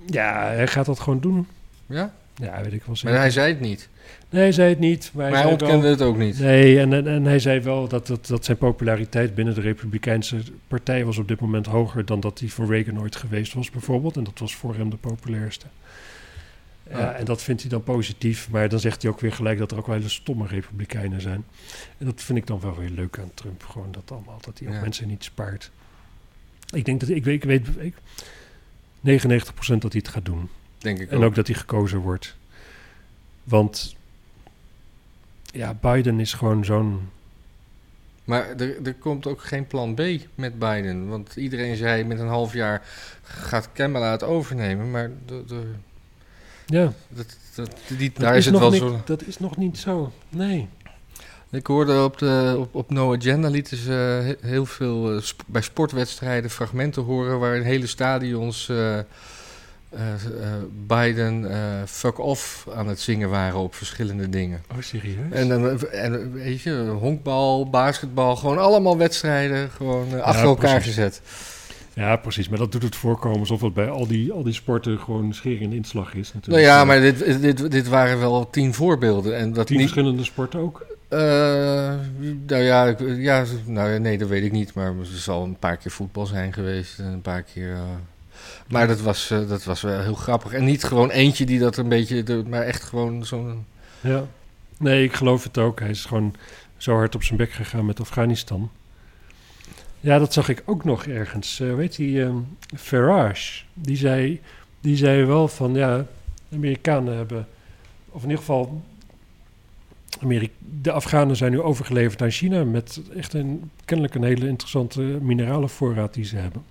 Speaker 1: ja, hij gaat dat gewoon doen.
Speaker 2: Ja?
Speaker 1: Ja, weet ik wel
Speaker 2: Maar
Speaker 1: zeker.
Speaker 2: hij zei het niet.
Speaker 1: Nee, hij zei het niet. Maar hij,
Speaker 2: Maar
Speaker 1: zei
Speaker 2: hij
Speaker 1: wel,
Speaker 2: ontkende het ook niet.
Speaker 1: Nee, en, en, en hij zei wel dat, dat, dat zijn populariteit binnen de Republikeinse partij was op dit moment hoger dan dat die van Reagan ooit geweest was bijvoorbeeld. En dat was voor hem de populairste. Ja,
Speaker 2: Ja.
Speaker 1: en dat vindt hij dan positief, maar dan zegt hij ook weer gelijk dat er ook wel hele stomme republikeinen zijn. En dat vind ik dan wel weer leuk aan Trump, gewoon dat allemaal, dat hij ook
Speaker 2: Ja.
Speaker 1: mensen niet spaart. Ik denk dat, ik weet, ik weet ik, 99% dat hij het gaat doen.
Speaker 2: Denk ik
Speaker 1: En
Speaker 2: ook.
Speaker 1: ook dat hij gekozen wordt. Want ja, Biden is gewoon zo'n.
Speaker 2: Maar er, er komt ook geen plan B met Biden. Want iedereen zei met een half jaar gaat Kamala het overnemen. Maar de, de,
Speaker 1: Ja,
Speaker 2: dat, dat, die,
Speaker 1: dat
Speaker 2: daar is, het
Speaker 1: nog
Speaker 2: wel
Speaker 1: niet,
Speaker 2: zo.
Speaker 1: Dat is nog niet zo. Nee.
Speaker 2: Ik hoorde op, de, op, op No Agenda lieten ze eh, he- heel veel eh, sp- bij sportwedstrijden fragmenten horen waarin hele stadions eh, eh, eh, Biden eh, fuck off aan het zingen waren op verschillende dingen.
Speaker 1: Oh, serieus?
Speaker 2: En, dan, eh, en eh, weet je, honkbal, basketbal, gewoon allemaal wedstrijden gewoon eh, achter elkaar
Speaker 1: precies. Dus,
Speaker 2: gezet.
Speaker 1: ja, precies. Maar dat doet het voorkomen alsof het bij al die, al die sporten gewoon schering in de inslag is.
Speaker 2: Nou
Speaker 1: Natuurlijk.
Speaker 2: ja, maar dit, dit, dit waren wel tien voorbeelden. En dat
Speaker 1: eh, Tien
Speaker 2: niet,
Speaker 1: verschillende sporten ook.
Speaker 2: Eh, nou ja, ik, ja, nou ja, nee, dat weet ik niet. Maar er zal een paar keer voetbal zijn geweest en een paar keer. eh, maar dat was, eh, dat was wel heel grappig. En niet gewoon eentje die dat een beetje. de- maar echt gewoon zo'n.
Speaker 1: Ja. Nee, ik geloof het ook. Hij is gewoon zo hard op zijn bek gegaan met Afghanistan. Ja, dat zag ik ook nog ergens. Eh, weet die ehm, Farage, die zei, die zei wel van ja, de Amerikanen hebben, of in ieder geval, Ameri- de Afghanen zijn nu overgeleverd aan China met echt een, kennelijk een hele interessante mineralenvoorraad die ze hebben.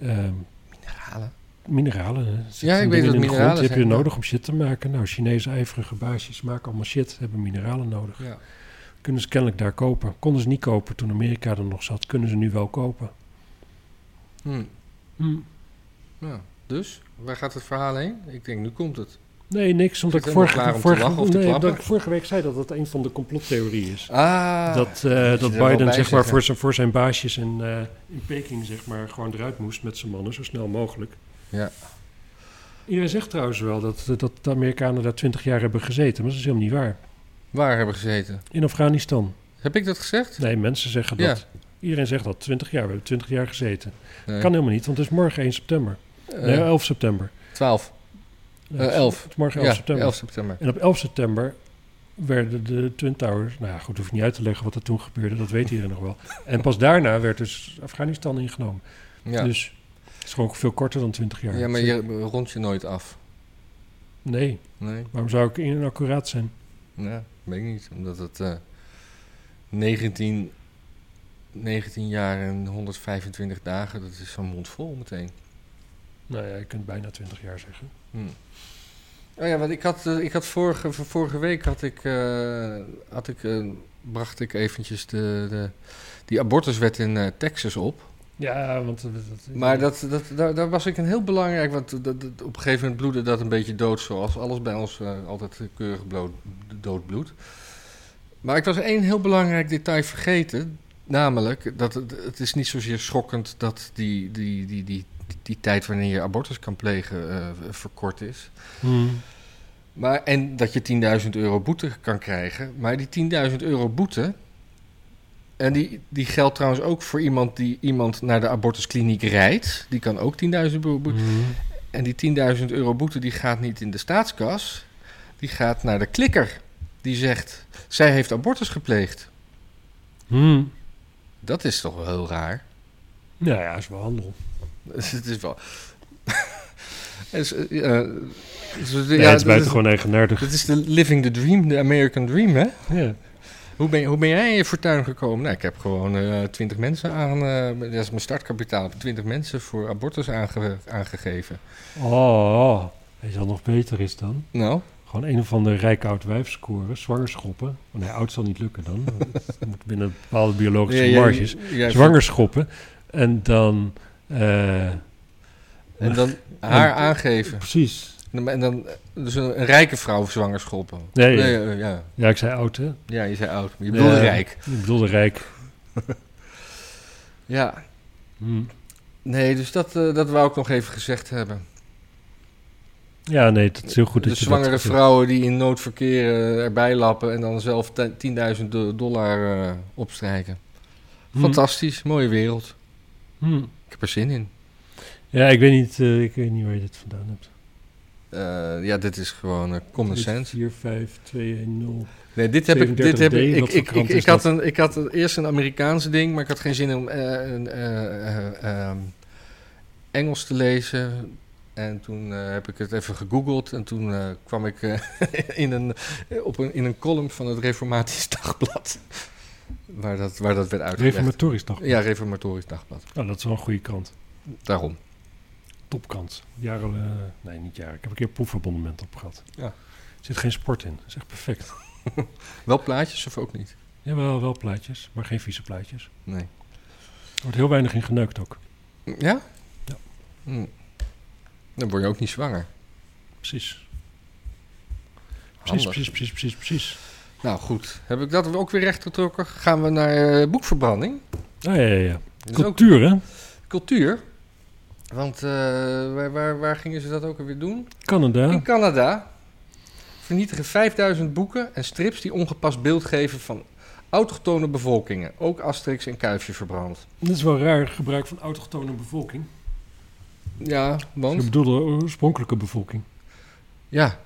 Speaker 1: Ehm,
Speaker 2: Mineralen.
Speaker 1: Mineralen. hè. Er zitten
Speaker 2: Ja, ik
Speaker 1: dingen
Speaker 2: weet dat
Speaker 1: in de
Speaker 2: mineralen
Speaker 1: grond, Die heb je
Speaker 2: zijn, ja.
Speaker 1: nodig om shit te maken. Nou, Chinese ijverige baasjes maken allemaal shit, hebben mineralen nodig.
Speaker 2: Ja.
Speaker 1: Kunnen ze kennelijk daar kopen. Konden ze niet kopen toen Amerika er nog zat. Kunnen ze nu wel kopen.
Speaker 2: Hm. Ja. Dus, waar gaat het verhaal heen? Ik denk, nu komt het.
Speaker 1: Nee, niks. Omdat
Speaker 2: Zit
Speaker 1: ik vorige,
Speaker 2: helemaal klaar om te
Speaker 1: vorige-
Speaker 2: lachen of te
Speaker 1: nee,
Speaker 2: klappen?
Speaker 1: omdat ik vorige week zei dat dat een van de complottheorieën is.
Speaker 2: Ah,
Speaker 1: dat eh,
Speaker 2: je
Speaker 1: dat
Speaker 2: er wel bij
Speaker 1: Biden zeg maar,
Speaker 2: zeggen.
Speaker 1: voor, zijn, voor zijn baasjes in, eh, in Peking zeg maar, gewoon eruit moest met zijn mannen, zo snel mogelijk.
Speaker 2: Ja.
Speaker 1: Iedereen zegt trouwens wel dat, dat de Amerikanen daar twintig jaar hebben gezeten, maar dat is helemaal niet waar.
Speaker 2: waar hebben we gezeten?
Speaker 1: In Afghanistan.
Speaker 2: Heb ik dat gezegd?
Speaker 1: Nee, mensen zeggen
Speaker 2: Ja.
Speaker 1: dat. Iedereen zegt dat. 20 jaar, we hebben 20 jaar gezeten.
Speaker 2: Nee.
Speaker 1: Kan helemaal niet, want het is morgen 1 september.
Speaker 2: Eh,
Speaker 1: nee, 11 september.
Speaker 2: 12.
Speaker 1: Nee,
Speaker 2: Eh,
Speaker 1: het is-
Speaker 2: 11.
Speaker 1: Het is morgen 11
Speaker 2: Ja,
Speaker 1: september.
Speaker 2: 11 september.
Speaker 1: En op 11 september werden de Twin Towers... Nou ja, goed, hoef ik niet uit te leggen wat er toen gebeurde. Dat weet iedereen nog wel. En pas daarna werd dus Afghanistan ingenomen.
Speaker 2: Ja,
Speaker 1: Dus het is gewoon veel korter dan 20 jaar.
Speaker 2: ja maar je rond je nooit af.
Speaker 1: Nee,
Speaker 2: Nee.
Speaker 1: waarom zou ik inaccuraat zijn?
Speaker 2: Ja, weet ik niet. Omdat het eh 19, 19 jaar en 125 dagen, dat is zo'n mond vol meteen.
Speaker 1: Nou ja, je kunt bijna 20 jaar zeggen.
Speaker 2: Hm. Oh ja, want ik had, eh, ik had vorige, voor- vorige week had ik, eh, had ik, eh, bracht ik eventjes de, de, die abortuswet in eh, Texas op.
Speaker 1: Ja, want... eh, dat-
Speaker 2: Maar dat, dat, daar, daar was ik een heel belangrijk, want dat, dat- op een gegeven moment bloedde dat een beetje dood, zoals alles bij ons eh, altijd keurig bloot, dood bloed. Maar ik was één heel belangrijk detail vergeten, namelijk dat het, het is niet zozeer schokkend dat die, die, die, die, die, die tijd wanneer je abortus kan plegen eh, verkort is.
Speaker 1: Hmm.
Speaker 2: Maar, en dat je 10.000 euro boete kan krijgen. Maar die 10.000 euro boete. En die, die geldt trouwens ook voor iemand die iemand naar de abortuskliniek rijdt. Die kan ook 10.000 euro boete.
Speaker 1: Hmm.
Speaker 2: En die 10.000 euro boete die gaat niet in de staatskas. Die gaat naar de klikker. die zegt: zij heeft abortus gepleegd.
Speaker 1: Hmm.
Speaker 2: Dat is toch wel heel raar.
Speaker 1: Nou ja, is wel handel.
Speaker 2: Dus het is wel. Het is, eh, ja, dus, ja,
Speaker 1: Nee, het is
Speaker 2: dat is-
Speaker 1: buitengewoon eigenaardig.
Speaker 2: Dat is de living the dream, de American dream, hè?
Speaker 1: Ja.
Speaker 2: Hoe ben, hoe ben jij in je fortuin gekomen? Nou, ik heb gewoon twintig mensen aan... eh, dat is mijn startkapitaal. Twintig mensen voor abortus aange- aangegeven.
Speaker 1: Oh, oh. weet je wat nog beter is dan?
Speaker 2: Nou,
Speaker 1: Gewoon een of ander rijk oud wijf scoren, zwangerschoppen. Oh, nee, oud zal niet lukken dan. want Het moet binnen bepaalde biologische
Speaker 2: jij- jij-
Speaker 1: marges.
Speaker 2: jij-
Speaker 1: Zwangerschoppen. En dan... eh,
Speaker 2: En dan haar aangeven.
Speaker 1: precies.
Speaker 2: En dan, dus een, een rijke vrouw zwangerschoppen.
Speaker 1: Nee, ja.
Speaker 2: ja, eh, ja.
Speaker 1: Ja, ik zei oud, hè?
Speaker 2: Ja, je zei oud, maar je bedoelde
Speaker 1: Ja,
Speaker 2: rijk.
Speaker 1: Ik bedoelde rijk.
Speaker 2: Ja,
Speaker 1: Hm.
Speaker 2: nee, dus dat, eh, dat wou ik nog even gezegd hebben.
Speaker 1: Ja, nee, dat is heel goed
Speaker 2: de
Speaker 1: dat je dat
Speaker 2: zwangere
Speaker 1: gezegd-
Speaker 2: vrouwen die in noodverkeer eh, erbij lappen... en dan zelf tien- 10.000 do- dollar eh, opstrijken.
Speaker 1: Hm.
Speaker 2: Fantastisch, mooie wereld.
Speaker 1: Hm.
Speaker 2: Ik heb er zin in.
Speaker 1: Ja, ik weet, niet, eh, ik weet niet waar je dit vandaan hebt.
Speaker 2: Eh, ja, dit is gewoon eh, common sense.
Speaker 1: 4, 5, 2, 1, 0.
Speaker 2: Nee, dit heb ik. Dit heb
Speaker 1: 37D,
Speaker 2: ik, ik,
Speaker 1: wat
Speaker 2: ik,
Speaker 1: voor krant
Speaker 2: ik- ik
Speaker 1: is
Speaker 2: had
Speaker 1: dat?
Speaker 2: een, ik had een- eerst een Amerikaanse ding, maar ik had geen zin om eh, een, eh, eh, ehm, Engels te lezen. En toen eh, heb ik het even gegoogeld en toen eh, kwam ik eh, in, een, op een, in een column van het Reformatisch Dagblad. Waar dat, waar dat werd uitgelegd.
Speaker 1: Reformatorisch dag.
Speaker 2: ja, Reformatorisch Dagblad.
Speaker 1: Nou, dat is wel een goede kant.
Speaker 2: Daarom.
Speaker 1: Topkant. Jaren, eh, nee, niet jaren. Ik heb een keer een proefabonnement op gehad.
Speaker 2: Ja.
Speaker 1: Er zit geen sport in. Dat is echt perfect.
Speaker 2: Wel plaatjes of ook niet?
Speaker 1: Jawel, wel plaatjes, maar geen vieze plaatjes.
Speaker 2: Nee.
Speaker 1: Er wordt heel weinig in geneukt ook.
Speaker 2: Ja?
Speaker 1: Ja.
Speaker 2: Hm. Dan word je ook niet zwanger.
Speaker 1: Precies. Precies,
Speaker 2: Handig.
Speaker 1: precies, precies, precies, precies.
Speaker 2: Nou goed, heb ik dat ook weer rechtgetrokken? Gaan we naar eh, boekverbranding.
Speaker 1: Ah, ja, ja, ja.
Speaker 2: Dat is ook
Speaker 1: Cultuur, hè?
Speaker 2: cultuur. Want eh, waar, waar, waar gingen ze dat ook alweer doen?
Speaker 1: Canada.
Speaker 2: In Canada vernietigen 5000 boeken en strips die ongepast beeld geven van autochtone bevolkingen. Ook Asterix en Kuifje verbrand.
Speaker 1: Dit is wel raar gebruik van autochtone bevolking.
Speaker 2: Ja,
Speaker 1: Ik
Speaker 2: want?
Speaker 1: bedoelde oorspronkelijke bevolking.
Speaker 2: Ja.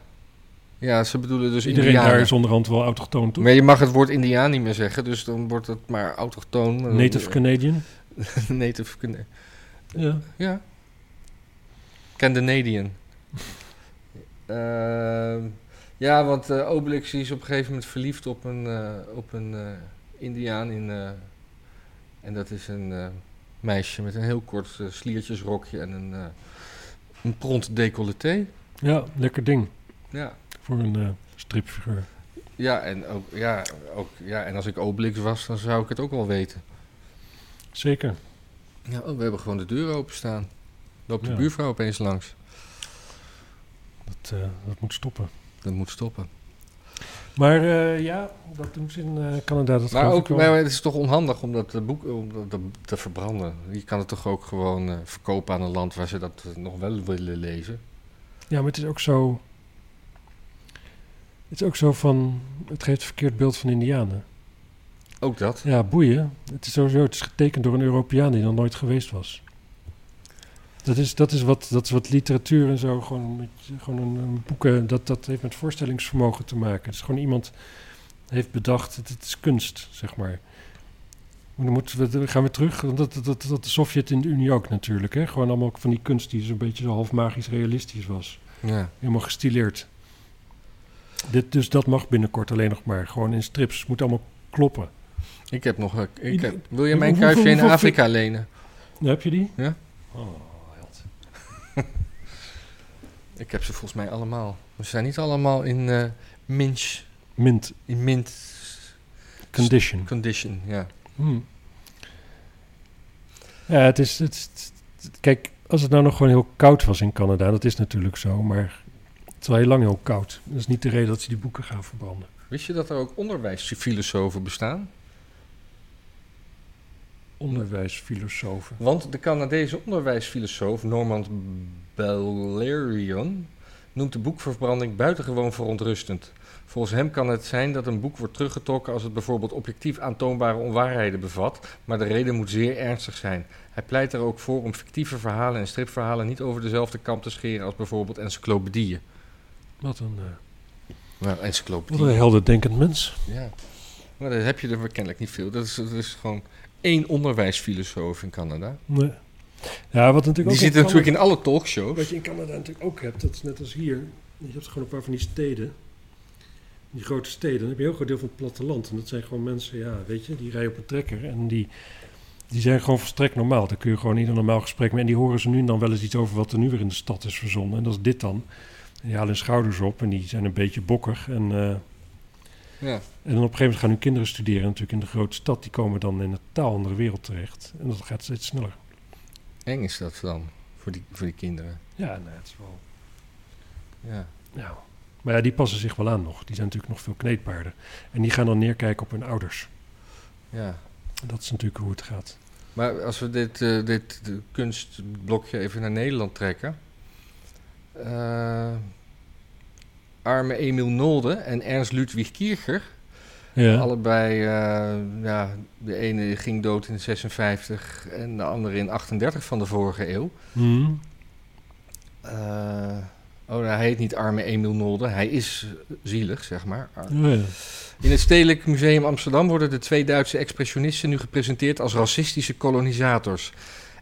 Speaker 2: Ja, ze bedoelen dus
Speaker 1: Iedereen
Speaker 2: indianen.
Speaker 1: daar is onderhand wel autochtoon, toch?
Speaker 2: Maar je mag het woord indiaan niet meer zeggen, dus dan wordt het maar autochtoon. eh,
Speaker 1: Native Canadian.
Speaker 2: Native Can-
Speaker 1: Ja.
Speaker 2: Ja. Canadian. Ehm ja, want eh, Obelix die is op een gegeven moment verliefd op een, eh, op een eh, indiaan in... eh, en dat is een eh, meisje met een heel kort eh, sliertjesrokje en een, eh, een pront decolleté.
Speaker 1: ja, lekker ding.
Speaker 2: Ja.
Speaker 1: Voor een eh, stripfiguur.
Speaker 2: Ja, en ook, ja, ook, ja, en als ik Obelix was, dan zou ik het ook wel weten.
Speaker 1: Zeker.
Speaker 2: Ja, oh, we hebben gewoon de deur openstaan. Loopt de
Speaker 1: Ja.
Speaker 2: buurvrouw opeens langs.
Speaker 1: Dat, eh, dat moet stoppen.
Speaker 2: Dat moet stoppen.
Speaker 1: Maar eh, ja, dat doen ze in eh, Canada. Dat
Speaker 2: Maar
Speaker 1: geloof
Speaker 2: ook,
Speaker 1: ik wel.
Speaker 2: maar het is toch onhandig om dat eh, boek om dat te- te verbranden. Je kan het toch ook gewoon eh, verkopen aan een land waar ze dat eh, nog wel willen lezen.
Speaker 1: Ja, maar het is ook zo... Het is ook zo van... Het geeft een verkeerd beeld van indianen.
Speaker 2: Ook dat.
Speaker 1: Ja, boeien. Het is sowieso het is getekend door een Europeaan die nog nooit geweest was. Dat is, dat is, wat, dat is wat literatuur en zo, gewoon, met- gewoon een, een boeken, dat, dat heeft met voorstellingsvermogen te maken. Het is gewoon iemand heeft bedacht, het, het is kunst, zeg maar. Maar dan moeten we, dan gaan we terug, want dat, dat, dat, dat de Sovjet in de Unie ook natuurlijk. Hè? Gewoon allemaal ook van die kunst die zo'n beetje zo half magisch realistisch was.
Speaker 2: Ja.
Speaker 1: Helemaal gestileerd. Dit, dus dat mag binnenkort alleen nog maar. Gewoon in strips. Het moet allemaal kloppen.
Speaker 2: Ik heb nog. eh, Ik
Speaker 1: Ieder-
Speaker 2: heb, wil je mijn
Speaker 1: Hoeveel-
Speaker 2: kuifje in
Speaker 1: hoeveel-
Speaker 2: Afrika lenen?
Speaker 1: Nou, heb je die?
Speaker 2: Ja.
Speaker 1: Oh, held.
Speaker 2: Ik heb ze volgens mij allemaal. Ze zijn niet allemaal in eh minch,
Speaker 1: Mint
Speaker 2: in mint
Speaker 1: condition.
Speaker 2: condition. Ja.
Speaker 1: Hmm. Ja, het is, het is- het- het- Kijk, als het nou nog gewoon heel koud was in Canada, dat is natuurlijk zo, maar het is al heel lang heel koud. Dat is niet de reden dat ze die boeken gaan verbranden.
Speaker 2: Wist je dat er ook onderwijsfilosofen bestaan?
Speaker 1: Onderwijsfilosofen.
Speaker 2: Want de Canadese onderwijsfilosoof Norman Bellerion noemt de boekverbranding buitengewoon verontrustend. Volgens hem kan het zijn dat een boek wordt teruggetrokken als het bijvoorbeeld objectief aantoonbare onwaarheden bevat, maar de reden moet zeer ernstig zijn. Hij pleit er ook voor om fictieve verhalen en stripverhalen niet over dezelfde kam te scheren als bijvoorbeeld encyclopedieën.
Speaker 1: Wat een eh,
Speaker 2: Nou,
Speaker 1: Wat
Speaker 2: encyclopedie.
Speaker 1: een helderdenkend mens.
Speaker 2: Ja. Maar daar heb je er kennelijk niet veel. Dat is, dat is gewoon één onderwijsfilosoof in Canada.
Speaker 1: Nee. Ja, wat natuurlijk ook
Speaker 2: Die zit
Speaker 1: Canada-
Speaker 2: natuurlijk in alle talkshows.
Speaker 1: Wat je in Canada natuurlijk ook hebt, dat is net als hier. Je hebt gewoon een paar van die steden. Die grote steden. Dan heb je een heel groot deel van het platteland. En dat zijn gewoon mensen, ja, weet je, die rijden op een trekker. En die, die zijn gewoon volstrekt normaal. Daar kun je gewoon ieder normaal gesprek mee. En die horen ze nu en dan wel eens iets over wat er nu weer in de stad is verzonnen. En dat is dit dan. En die halen hun schouders op en die zijn een beetje bokkig. En, eh,
Speaker 2: Ja.
Speaker 1: en dan op een gegeven moment gaan hun kinderen studeren natuurlijk in de grote stad. Die komen dan in een totaal andere wereld terecht. En dat gaat steeds sneller.
Speaker 2: Eng is dat dan voor die, voor die kinderen.
Speaker 1: Ja, nee, het is wel...
Speaker 2: Ja.
Speaker 1: Ja. Maar ja, die passen zich wel aan nog. Die zijn natuurlijk nog veel kneedbaarder. En die gaan dan neerkijken op hun ouders.
Speaker 2: ja.
Speaker 1: En Dat is natuurlijk hoe het gaat.
Speaker 2: Maar als we dit, eh, dit de kunstblokje even naar Nederland trekken. Eh, arme Emiel Nolde en Ernst Ludwig Kierger.
Speaker 1: Ja.
Speaker 2: Allebei, eh, ja, de ene ging dood in 56 en de andere in 38 van de vorige eeuw.
Speaker 1: Mhm.
Speaker 2: Eh, oh, nou, hij heet niet arme Emiel Nolde. Hij is zielig, zeg maar. Ar-
Speaker 1: Ja.
Speaker 2: In het Stedelijk Museum Amsterdam worden de twee Duitse expressionisten nu gepresenteerd als racistische kolonisators.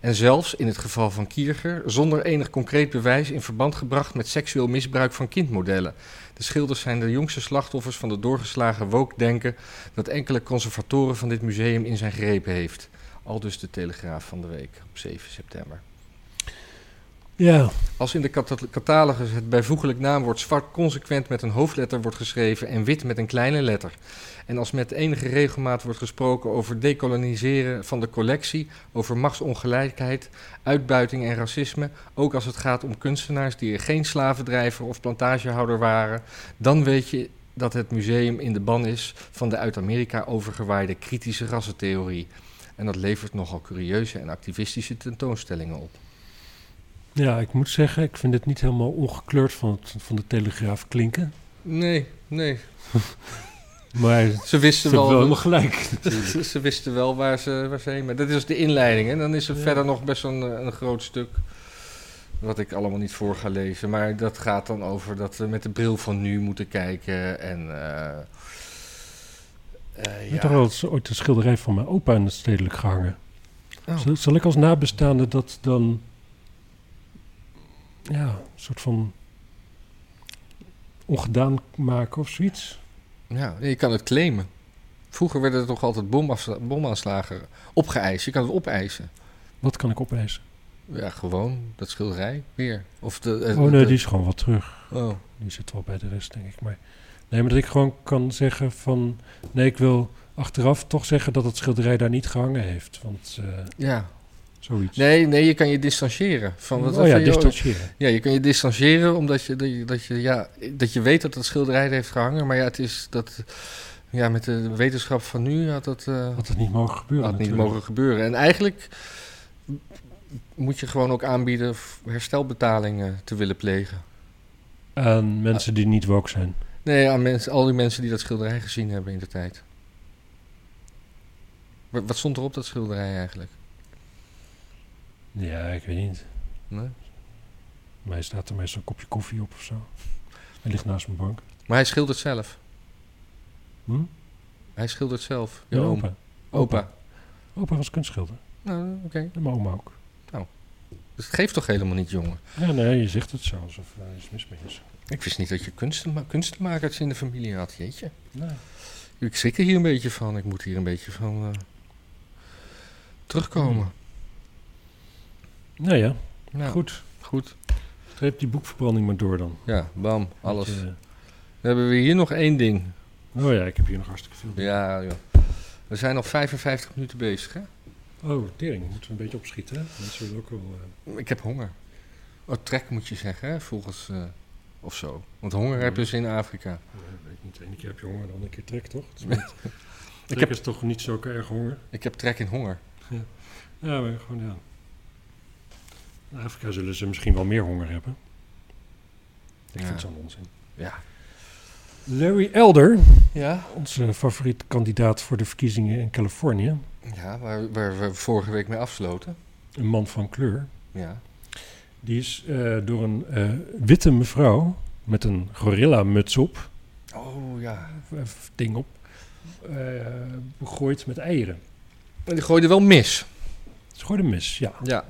Speaker 2: En zelfs, in het geval van Kierger, zonder enig concreet bewijs in verband gebracht met seksueel misbruik van kindmodellen. De schilders zijn de jongste slachtoffers van het doorgeslagen woke-denken dat enkele conservatoren van dit museum in zijn grepen heeft. Al dus de Telegraaf van de week op 7 september.
Speaker 1: ja.
Speaker 2: Als in de cata- catalogus het bijvoeglijk naamwoord zwart consequent met een hoofdletter wordt geschreven en wit met een kleine letter. En als met enige regelmaat wordt gesproken over decoloniseren van de collectie, over machtsongelijkheid, uitbuiting en racisme, ook als het gaat om kunstenaars die er geen slavendrijver of plantagehouder waren, dan weet je dat het museum in de ban is van de uit Amerika overgewaaide kritische rassentheorie. En dat levert nogal curieuze en activistische tentoonstellingen op.
Speaker 1: ja, ik moet zeggen, ik vind het niet helemaal ongekleurd van, het, van de Telegraaf klinken.
Speaker 2: Nee, nee.
Speaker 1: Maar ze
Speaker 2: Ze wisten
Speaker 1: hebben wel
Speaker 2: wel,
Speaker 1: helemaal gelijk.
Speaker 2: ze, ze wisten wel waar, ze, waar ze heen. Maar dat is dus de inleiding. En dan is er
Speaker 1: Ja.
Speaker 2: verder nog best een, eh, een groot stuk. Wat ik allemaal niet voor ga lezen. Maar dat gaat dan over dat we met de bril van nu moeten kijken. En. eh, eh,
Speaker 1: Ik
Speaker 2: ja.
Speaker 1: heb toch wel eens ooit een schilderij van mijn opa in het stedelijk gehangen.
Speaker 2: Oh.
Speaker 1: Zal, zal ik als nabestaande dat dan... Ja, een soort van... Ongedaan maken of zoiets?
Speaker 2: Ja, je kan het claimen. Vroeger werden er toch altijd bomafsla- bomaanslagen opgeëist. Je kan het opeisen.
Speaker 1: Wat kan ik opeisen?
Speaker 2: Ja, gewoon dat schilderij weer. Of de, eh,
Speaker 1: Oh nee,
Speaker 2: de-
Speaker 1: die is gewoon wat terug.
Speaker 2: oh.
Speaker 1: Die zit wel bij de rest, denk ik. Maar, nee, maar dat ik gewoon kan zeggen van... Nee, ik wil achteraf toch zeggen dat het schilderij daar niet gehangen heeft. Want eh,
Speaker 2: Ja.
Speaker 1: zoiets.
Speaker 2: Nee, nee, je kan je distancieren. Van, wat,
Speaker 1: oh ja,
Speaker 2: vind je-
Speaker 1: distancieren.
Speaker 2: Ja, je kan je distancieren omdat je, dat je, dat je, ja, dat je weet dat dat schilderij er heeft gehangen. Maar ja, het is dat. Ja, met de wetenschap van nu had dat eh,
Speaker 1: Had het niet mogen gebeuren
Speaker 2: had niet
Speaker 1: natuurlijk.
Speaker 2: mogen gebeuren. En eigenlijk moet je gewoon ook aanbieden f- herstelbetalingen te willen plegen.
Speaker 1: Aan mensen die niet woke zijn.
Speaker 2: Nee, aan mensen, al die mensen die dat schilderij gezien hebben in de tijd. Wat, wat stond er op dat schilderij eigenlijk?
Speaker 1: Ja, ik weet niet.
Speaker 2: Nee?
Speaker 1: Mij staat er meestal een kopje koffie op of zo. Hij ligt naast mijn bank.
Speaker 2: Maar hij schildert zelf.
Speaker 1: Hm?
Speaker 2: Hij schildert zelf. Je
Speaker 1: Mijn
Speaker 2: oom.
Speaker 1: opa.
Speaker 2: Opa.
Speaker 1: Opa was kunstschilder.
Speaker 2: Nou, oké.
Speaker 1: En mijn oma ook.
Speaker 2: Dus het geeft toch helemaal niet, jongen?
Speaker 1: Ja, nee, je zegt het zo alsof er iets mis mee is.
Speaker 2: Ik wist niet dat je kunstenma kunstenmakers in de familie had, jeetje.
Speaker 1: Nee.
Speaker 2: Ik schrik er hier een beetje van. Ik moet hier een beetje van eh, terugkomen.
Speaker 1: Nou ja,
Speaker 2: Nou,
Speaker 1: goed.
Speaker 2: Goed.
Speaker 1: Streep die boekverbranding maar door dan.
Speaker 2: Ja, bam, alles.
Speaker 1: Want,
Speaker 2: Dan
Speaker 1: eh,
Speaker 2: hebben we hier nog één ding.
Speaker 1: Oh ja, ik heb hier nog hartstikke veel.
Speaker 2: Ja, joh. We zijn al 55 minuten bezig, hè?
Speaker 1: Oh, tering, moeten we een beetje opschieten. Hè? Mensen willen ook wel. eh,
Speaker 2: Ik heb honger. Oh, trek moet je zeggen, hè? Volgens... eh, of zo. Want honger heb je dus in Afrika.
Speaker 1: eh, weet ik niet, de ene keer heb je honger, de andere keer trek, toch? Het is
Speaker 2: Ja.
Speaker 1: niet- trek
Speaker 2: heb-
Speaker 1: is toch niet zo erg honger?
Speaker 2: Ik heb trek in honger.
Speaker 1: Ja, maar gewoon ja. In Afrika zullen ze misschien wel meer honger hebben. Ik
Speaker 2: Ja.
Speaker 1: vind het zo'n onzin.
Speaker 2: Ja.
Speaker 1: Larry Elder,
Speaker 2: Ja?
Speaker 1: onze favoriete kandidaat voor de verkiezingen in Californië,
Speaker 2: Ja, waar, waar we vorige week mee afsloten.
Speaker 1: een man van kleur,
Speaker 2: Ja.
Speaker 1: die is eh, door een eh, witte mevrouw met een gorilla muts op
Speaker 2: Oh ja.
Speaker 1: Of ding op. eh, begooid met eieren.
Speaker 2: Maar die gooide wel mis.
Speaker 1: Het is gewoon een mis, ja.
Speaker 2: Ja.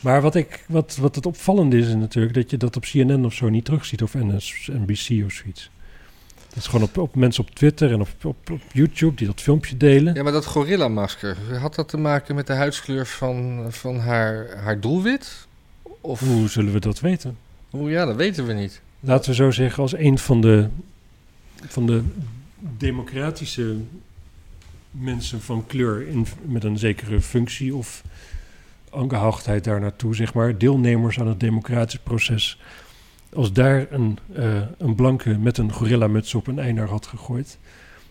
Speaker 1: Maar wat, ik, wat, wat het opvallende is, is natuurlijk dat je dat op CNN of zo niet terugziet. Of NBC of zoiets. Dat is gewoon op, op mensen op Twitter en op, op, op YouTube die dat filmpje delen.
Speaker 2: Ja, maar dat gorilla-masker, had dat te maken met de huidskleur van, van haar, haar doelwit? Of
Speaker 1: Hoe zullen we dat weten?
Speaker 2: hoe? Ja, dat weten we niet.
Speaker 1: Laten we zo zeggen, als een van de, van de democratische mensen van kleur in, met een zekere functie of aangehachtheid daar naartoe, zeg maar, deelnemers aan het democratisch proces. Als daar een, eh, een blanke met een gorillamuts op een einaar had gegooid,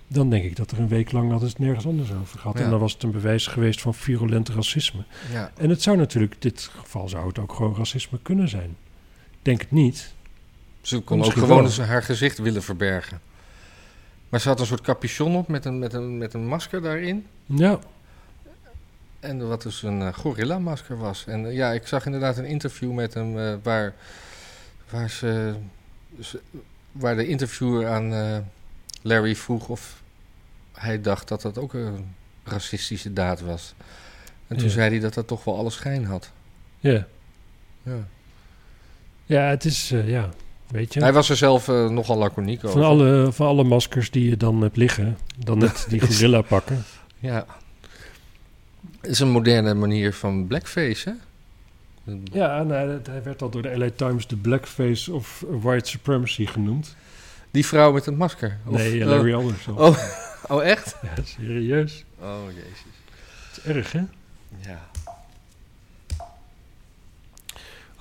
Speaker 1: dan denk ik dat er een week lang hadden ze het nergens anders over gehad.
Speaker 2: Ja.
Speaker 1: En dan was het een bewijs geweest van virulent racisme.
Speaker 2: Ja.
Speaker 1: En het zou natuurlijk, in dit geval zou het ook gewoon racisme kunnen zijn. Ik denk het niet.
Speaker 2: Ze kon ook
Speaker 1: Misschien
Speaker 2: gewoon
Speaker 1: wel.
Speaker 2: eens haar gezicht willen verbergen. Maar ze had een soort capuchon op met een, met een, met een masker daarin.
Speaker 1: Ja,
Speaker 2: En wat dus een eh, gorilla-masker was. En eh, ja, ik zag inderdaad een interview met hem eh, waar, waar, ze, ze- waar de interviewer aan eh, Larry vroeg of hij dacht dat dat ook een racistische daad was. En toen
Speaker 1: Ja.
Speaker 2: zei hij dat dat toch wel alle schijn had.
Speaker 1: ja.
Speaker 2: Ja.
Speaker 1: Ja, het is, eh, ja, weet je.
Speaker 2: Hij was er zelf eh, nogal laconiek over.
Speaker 1: Van alle, van alle maskers die je dan hebt liggen, dan net die gorilla pakken.
Speaker 2: Ja. Het is een moderne manier van blackface, hè?
Speaker 1: Ja, nou, dat- hij werd al door de LA Times de blackface of white supremacy genoemd. eh,
Speaker 2: Die vrouw met het masker. Of-
Speaker 1: nee, Larry Anderson.
Speaker 2: Oh, oh, echt?
Speaker 1: Ja, serieus.
Speaker 2: Oh, jezus.
Speaker 1: Het is erg, hè?
Speaker 2: Ja.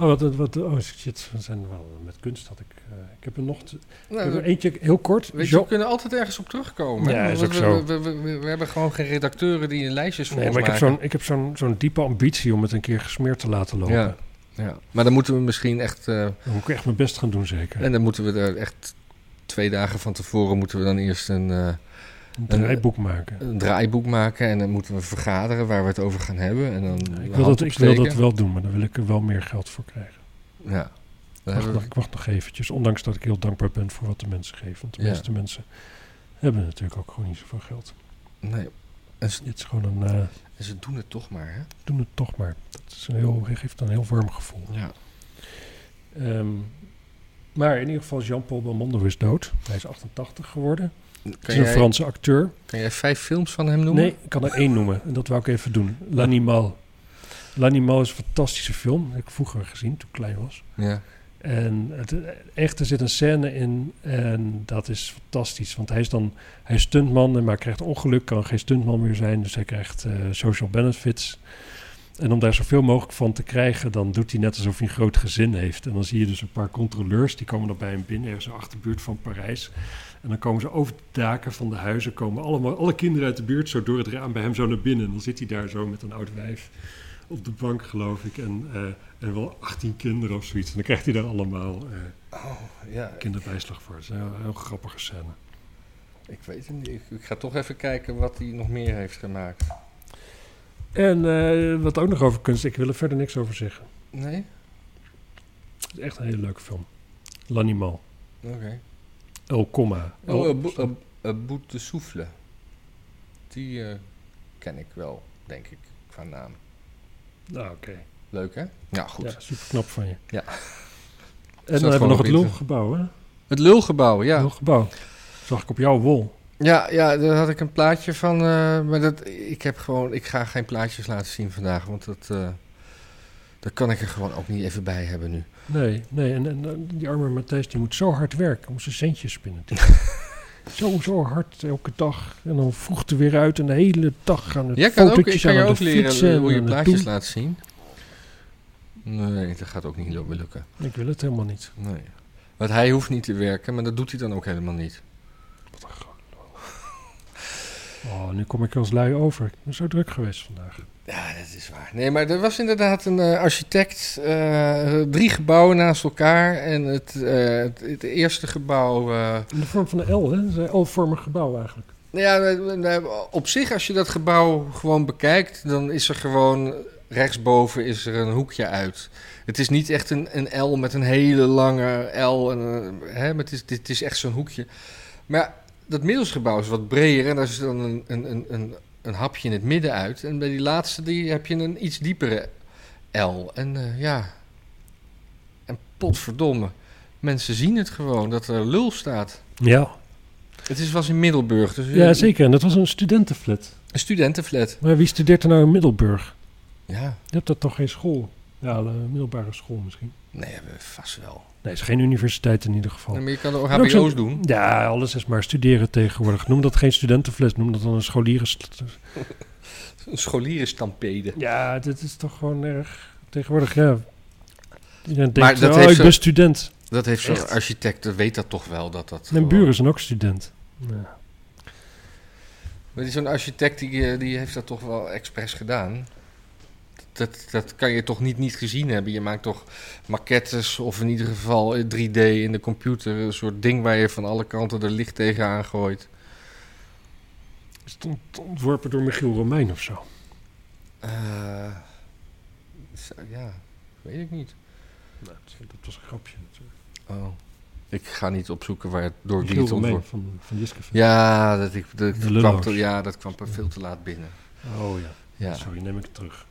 Speaker 1: Oh, wat, wat- wat, oh shit, we zijn wel met kunst had ik. eh, ik heb er nog te- ik heb
Speaker 2: Nou,
Speaker 1: er eentje heel kort.
Speaker 2: Weet je,
Speaker 1: Jo-
Speaker 2: we kunnen altijd ergens op terugkomen.
Speaker 1: Ja,
Speaker 2: hè?
Speaker 1: is
Speaker 2: We-
Speaker 1: ook
Speaker 2: we,
Speaker 1: zo.
Speaker 2: We, we- we- we hebben gewoon geen redacteuren die lijstjes voor
Speaker 1: nee,
Speaker 2: ons
Speaker 1: maar ik heb
Speaker 2: maken.
Speaker 1: zo'n ik heb zo'n zo'n diepe ambitie om het een keer gesmeerd te laten lopen.
Speaker 2: Ja. Ja. Maar dan moeten we misschien echt... eh,
Speaker 1: Dan moet ik echt mijn best gaan doen, zeker.
Speaker 2: en dan moeten we er echt... Twee dagen van tevoren moeten we dan eerst een, eh,
Speaker 1: een draaiboek maken.
Speaker 2: een draaiboek maken. En dan moeten we vergaderen waar we het over gaan hebben. En dan de
Speaker 1: Ik wil,
Speaker 2: hand
Speaker 1: dat, ik wil dat
Speaker 2: opsteken.
Speaker 1: wel doen, maar dan wil ik er wel meer geld voor krijgen.
Speaker 2: Ja. Dan
Speaker 1: Wacht,
Speaker 2: hebben we-
Speaker 1: nog- ik wacht nog eventjes, ondanks dat ik heel dankbaar ben voor wat de mensen geven. Want de
Speaker 2: Ja.
Speaker 1: meeste mensen hebben natuurlijk ook gewoon niet zoveel geld.
Speaker 2: Nee. En ze,
Speaker 1: Dit is gewoon een, eh,
Speaker 2: en ze doen het toch maar, hè?
Speaker 1: doen het toch maar. Dat is een heel, geeft een heel warm gevoel.
Speaker 2: Ja.
Speaker 1: Ehm, maar in ieder geval, Jean-Paul Belmondo is dood. Hij is 88 geworden. Het
Speaker 2: Kan
Speaker 1: is een
Speaker 2: jij,
Speaker 1: Franse acteur.
Speaker 2: kan jij vijf films van hem noemen?
Speaker 1: Nee, ik kan er één noemen. En dat wou ik even doen. L'Animal. L'Animal is een fantastische film. Heb ik vroeger gezien, toen ik klein was.
Speaker 2: Ja.
Speaker 1: En het, echt, er zit een scène in en dat is fantastisch. Want hij is dan, hij is stuntman, maar krijgt ongeluk, kan geen stuntman meer zijn. Dus hij krijgt eh, social benefits. En om daar zoveel mogelijk van te krijgen, dan doet hij net alsof hij een groot gezin heeft. En dan zie je dus een paar controleurs, die komen dan bij hem binnen, ergens in de achterbuurt van Parijs. En dan komen ze over de daken van de huizen, komen allemaal, alle kinderen uit de buurt zo door het raam bij hem zo naar binnen. En dan zit hij daar zo met een oud wijf op de bank, geloof ik. En eh, en wel 18 kinderen of zoiets. En dan krijgt hij daar allemaal eh,
Speaker 2: Oh, ja.
Speaker 1: kinderbijslag voor. Het is een heel, heel grappige scène.
Speaker 2: Ik weet het niet. Ik, ik ga toch even kijken wat hij nog meer heeft gemaakt.
Speaker 1: En eh, wat ook nog over kunst. Ik wil er verder niks over zeggen.
Speaker 2: Nee?
Speaker 1: Het is echt een hele leuke film. L'Animal.
Speaker 2: Oké.
Speaker 1: El Comma. El-
Speaker 2: Oh, een boet de Souffle. Die eh, ken ik wel, denk ik, qua naam.
Speaker 1: nou, oké.
Speaker 2: Leuk, hè? Ja, goed.
Speaker 1: Ja, super knap van je.
Speaker 2: Ja.
Speaker 1: En
Speaker 2: gewoon
Speaker 1: dan hebben we nog
Speaker 2: op
Speaker 1: het
Speaker 2: Inter-
Speaker 1: Lulgebouw, hè?
Speaker 2: Het Lulgebouw, ja.
Speaker 1: Lulgebouw. Zag ik op jouw wol.
Speaker 2: Ja, ja, daar had ik een plaatje van. eh, maar dat, ik, heb gewoon, ik ga geen plaatjes laten zien vandaag, want dat, eh, dat kan ik er gewoon ook niet even bij hebben nu.
Speaker 1: Nee, nee. En, en eh, die arme Matthijs die moet zo hard werken om zijn centjes binnen te krijgen. Zo, zo hard elke dag. En dan vroeg er weer uit en de hele dag gaan het
Speaker 2: Jij kan ook, ik
Speaker 1: fotootjes
Speaker 2: kan je
Speaker 1: aan
Speaker 2: ook
Speaker 1: de fietsen
Speaker 2: leren
Speaker 1: en
Speaker 2: hoe je
Speaker 1: aan het
Speaker 2: plaatjes
Speaker 1: doen.
Speaker 2: laten zien. Nee, dat gaat ook niet lu- lukken.
Speaker 1: Ik wil het helemaal niet.
Speaker 2: Nee. Want hij hoeft niet te werken, maar dat doet hij dan ook helemaal niet.
Speaker 1: Oh, nu kom ik als lui over. Ik ben zo druk geweest vandaag.
Speaker 2: Ja, dat is waar. Nee, maar er was inderdaad een eh, architect, eh, drie gebouwen naast elkaar. En het, eh, het, het eerste gebouw. eh,
Speaker 1: In de vorm van een L, hè? Het is een L-vormig gebouw eigenlijk.
Speaker 2: Nou ja, we- we- we- op zich, als je dat gebouw gewoon bekijkt, dan is er gewoon rechtsboven is er een hoekje uit. Het is niet echt een, een L met een hele lange L. En, eh, hè, maar het, is, dit is echt zo'n hoekje. Maar dat middelgebouw is wat breder en daar is dan een, een, een, een, een hapje in het midden uit. En bij die laatste die heb je een iets diepere L. En eh, ja, en potverdomme, mensen zien het gewoon dat er lul staat.
Speaker 1: Ja,
Speaker 2: Het is, was in Middelburg, dus
Speaker 1: ja
Speaker 2: eh,
Speaker 1: zeker. En dat was een studentenflat.
Speaker 2: een studentenflat.
Speaker 1: Maar wie studeert er nou in Middelburg?
Speaker 2: Ja,
Speaker 1: Je hebt dat toch geen school? Ja, een middelbare school misschien.
Speaker 2: nee, hebben we vast wel.
Speaker 1: Nee, is geen universiteit in ieder geval.
Speaker 2: Nee, maar je kan ook
Speaker 1: En ook zo'n-
Speaker 2: HBO's doen.
Speaker 1: Ja, alles is maar studeren tegenwoordig. Noem dat geen studentenfles, noem dat dan een scholieren...
Speaker 2: Een scholierenstampede.
Speaker 1: Ja, dit is toch gewoon erg... Tegenwoordig, ja... Iedereen denkt,
Speaker 2: Maar dat
Speaker 1: oh,
Speaker 2: heeft
Speaker 1: ik
Speaker 2: zo-
Speaker 1: ben student.
Speaker 2: Dat heeft zo'n
Speaker 1: Echt?
Speaker 2: architect, dat weet dat toch wel. Dat dat
Speaker 1: Mijn
Speaker 2: gewoon-
Speaker 1: buren zijn ook student. Ja.
Speaker 2: Maar die- zo'n architect die, eh, die heeft dat toch wel expres gedaan. Dat, dat kan je toch niet, niet gezien hebben. Je maakt toch maquettes of in ieder geval eh, 3D in de computer. Een soort ding waar je van alle kanten de licht tegenaan gooit.
Speaker 1: Is het ont- ontworpen door Michiel Romein of zo?
Speaker 2: Eh, zo- ja, weet ik niet.
Speaker 1: Nee, dat was een grapje natuurlijk.
Speaker 2: Oh. Ik ga niet opzoeken waar het door wie
Speaker 1: Michiel
Speaker 2: het
Speaker 1: Romein
Speaker 2: ontworpen.
Speaker 1: van, van Jiskeveld.
Speaker 2: Ja, dat, ik, dat
Speaker 1: De
Speaker 2: kwam
Speaker 1: lullenhoofd.
Speaker 2: te, ja, dat kwam veel te laat binnen.
Speaker 1: Oh ja.
Speaker 2: Ja.
Speaker 1: sorry, neem ik het terug.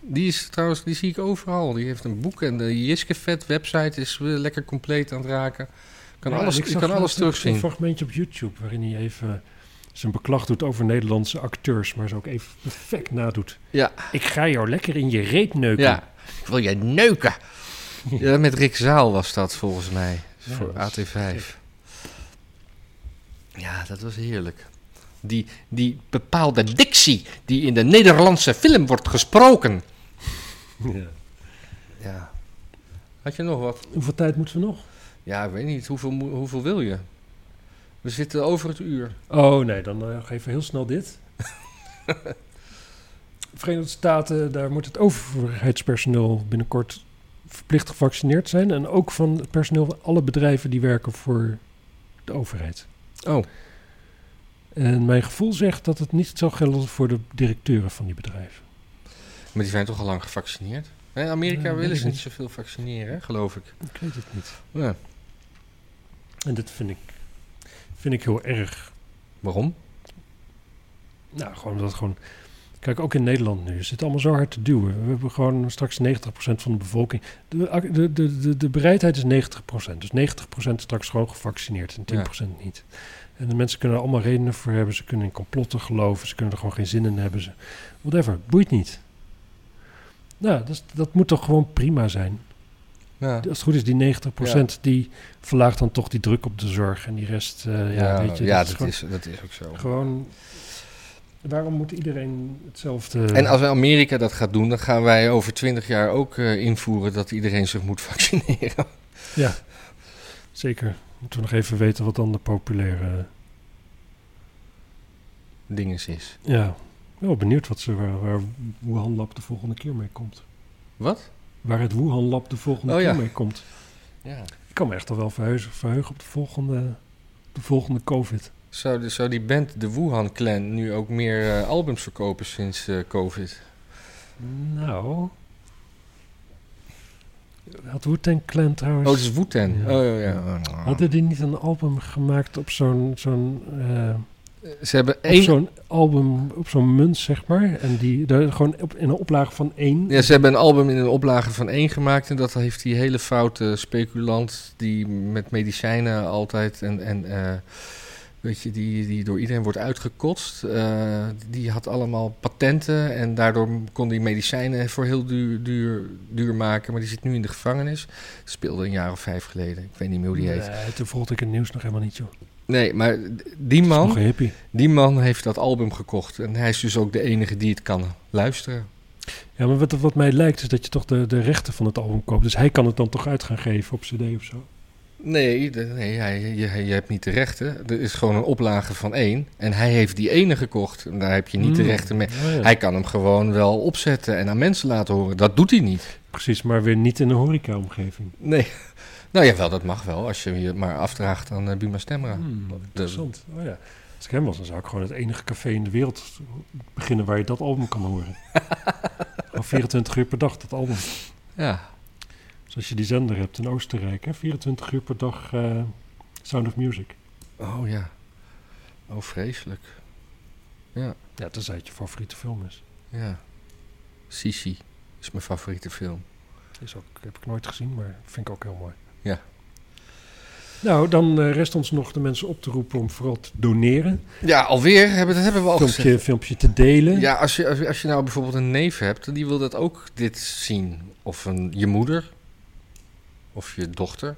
Speaker 2: Die is trouwens, die zie ik overal. Die heeft een boek en de Jiskevet website is weer lekker compleet aan het raken. Kan
Speaker 1: Ja,
Speaker 2: alles,
Speaker 1: en ik
Speaker 2: je
Speaker 1: zag
Speaker 2: kan alles
Speaker 1: laatst Een
Speaker 2: terugzien.
Speaker 1: fragmentje op YouTube waarin hij even zijn beklag doet over Nederlandse acteurs, maar ze ook even perfect nadoet.
Speaker 2: Ja.
Speaker 1: Ik ga jou lekker in je reet neuken.
Speaker 2: Ja, ik wil jij neuken. Ja, met Rick Zaal was dat volgens mij.
Speaker 1: Ja,
Speaker 2: voor
Speaker 1: dat is
Speaker 2: AT5.
Speaker 1: gek.
Speaker 2: Ja, dat was heerlijk. Die, die bepaalde dictie die in de Nederlandse film wordt gesproken.
Speaker 1: Ja.
Speaker 2: Ja. Had je nog wat?
Speaker 1: Hoeveel tijd moeten we nog?
Speaker 2: Ja, ik weet niet. Hoeveel, moe- hoeveel wil je? We zitten over het uur.
Speaker 1: Oh nee, dan eh, geven we heel snel dit. Verenigde Staten, daar moet het overheidspersoneel binnenkort verplicht gevaccineerd zijn. En ook van het personeel van alle bedrijven die werken voor de overheid.
Speaker 2: Oh.
Speaker 1: En mijn gevoel zegt dat het niet zal gelden voor de directeuren van die bedrijven.
Speaker 2: Maar die zijn toch al lang gevaccineerd? In
Speaker 1: Ja,
Speaker 2: Amerika
Speaker 1: weet
Speaker 2: willen
Speaker 1: ik
Speaker 2: ze niet
Speaker 1: niet.
Speaker 2: zoveel vaccineren, hè, geloof ik.
Speaker 1: Ik weet het niet.
Speaker 2: Ja.
Speaker 1: En dit vind ik, vind ik heel erg.
Speaker 2: Waarom?
Speaker 1: Nou, gewoon omdat het gewoon. Kijk, ook in Nederland nu. Het zit allemaal zo hard te duwen. We hebben gewoon straks 90% van de bevolking. De, ac- de, de, de, de bereidheid is 90%. Dus 90% straks gewoon gevaccineerd en 10% niet. En de mensen kunnen er allemaal redenen voor hebben. Ze kunnen in complotten geloven. Ze kunnen er gewoon geen zin in hebben. Ze, whatever. Boeit niet. Nou, dat, is- dat moet toch gewoon prima zijn.
Speaker 2: Ja.
Speaker 1: Als het goed is, die 90% die verlaagt dan toch die druk op de zorg. En die rest, eh, ja,
Speaker 2: Ja,
Speaker 1: weet je.
Speaker 2: ja,
Speaker 1: is
Speaker 2: dat,
Speaker 1: gewoon-
Speaker 2: is, dat is ook zo.
Speaker 1: gewoon, waarom moet iedereen hetzelfde...
Speaker 2: En als Amerika dat gaat doen, dan gaan wij over twintig jaar ook eh, invoeren dat iedereen zich moet vaccineren.
Speaker 1: Ja, zeker. Moeten we nog even weten wat dan de populaire...
Speaker 2: Dinges is.
Speaker 1: Ja, wel benieuwd wat ze, waar, waar Wuhan Lab de volgende keer mee komt.
Speaker 2: Wat?
Speaker 1: Waar het Wuhan Lab de volgende
Speaker 2: Oh,
Speaker 1: keer
Speaker 2: ja.
Speaker 1: mee komt.
Speaker 2: Ja.
Speaker 1: Ik kan me echt al wel verheugen, verheugen op de volgende, de volgende COVID.
Speaker 2: Zou, de- zou die band, de Wuhan Clan, nu ook meer eh, albums verkopen sinds eh, COVID?
Speaker 1: Nou... Had Wu-Tang Clan
Speaker 2: Oh,
Speaker 1: trouwens...
Speaker 2: het is Wu-Tang.
Speaker 1: Ja.
Speaker 2: Oh, ja.
Speaker 1: Hadden die niet een album gemaakt op zo'n... zo'n eh,
Speaker 2: Ze hebben
Speaker 1: op
Speaker 2: één
Speaker 1: zo'n album, op zo'n munt, zeg maar. En die daar gewoon op, in een oplage van één.
Speaker 2: Ja, ze hebben een album in een oplage van één gemaakt. En dat heeft die hele foute speculant die met medicijnen altijd en, en eh, weet je, die, die door iedereen wordt uitgekotst. eh, die had allemaal patenten en daardoor kon die medicijnen voor heel duur, duur, duur maken. Maar die zit nu in de gevangenis. Speelde een jaar of vijf geleden. Ik weet niet meer hoe die heet.
Speaker 1: Nee, Eh, toen volgde ik het nieuws nog helemaal niet, joh.
Speaker 2: Nee, maar die
Speaker 1: Man? Nog
Speaker 2: man,
Speaker 1: een hippie.
Speaker 2: die man heeft dat album gekocht. En hij is dus ook de enige die het kan luisteren.
Speaker 1: Ja, maar wat, wat mij lijkt is dat je toch de, de rechten van het album koopt. Dus hij kan het dan toch uit gaan geven op cd of zo.
Speaker 2: Nee, de- nee hij, je, je hebt niet de rechten. Er is gewoon een oplage van één. En hij heeft die ene gekocht. En daar heb je niet de
Speaker 1: Hmm.
Speaker 2: rechten mee.
Speaker 1: Ja, ja.
Speaker 2: Hij kan hem gewoon wel opzetten en aan mensen laten horen. Dat doet hij niet.
Speaker 1: Precies, maar weer niet in een horeca-omgeving.
Speaker 2: Nee. Nou jawel, dat mag wel. Als je je maar afdraagt aan eh, Buma Stemra.
Speaker 1: Hmm,
Speaker 2: dat-
Speaker 1: interessant. Oh, ja. Als ik hem was, dan zou ik gewoon het enige café in de wereld beginnen waar je dat album kan horen. Gewoon 24 uur per dag, dat album.
Speaker 2: Ja.
Speaker 1: Zoals je die zender hebt in Oostenrijk, hè? 24 uur per dag eh, Sound of Music.
Speaker 2: Oh ja. Oh, vreselijk. Ja,
Speaker 1: Ja, tenzij het je favoriete film is.
Speaker 2: ja. Sisi is mijn favoriete film.
Speaker 1: Is ook, heb ik nooit gezien, maar vind ik ook heel mooi.
Speaker 2: Ja.
Speaker 1: Nou, dan eh, rest ons nog de mensen op te roepen om vooral te doneren.
Speaker 2: Ja, alweer. Hebben, dat hebben we al gezegd.
Speaker 1: Filmpje, filmpje te delen.
Speaker 2: Ja, als je, als, je- als je nou bijvoorbeeld een neef hebt, die wil dat ook dit zien. Of een, je moeder. Of je dochter.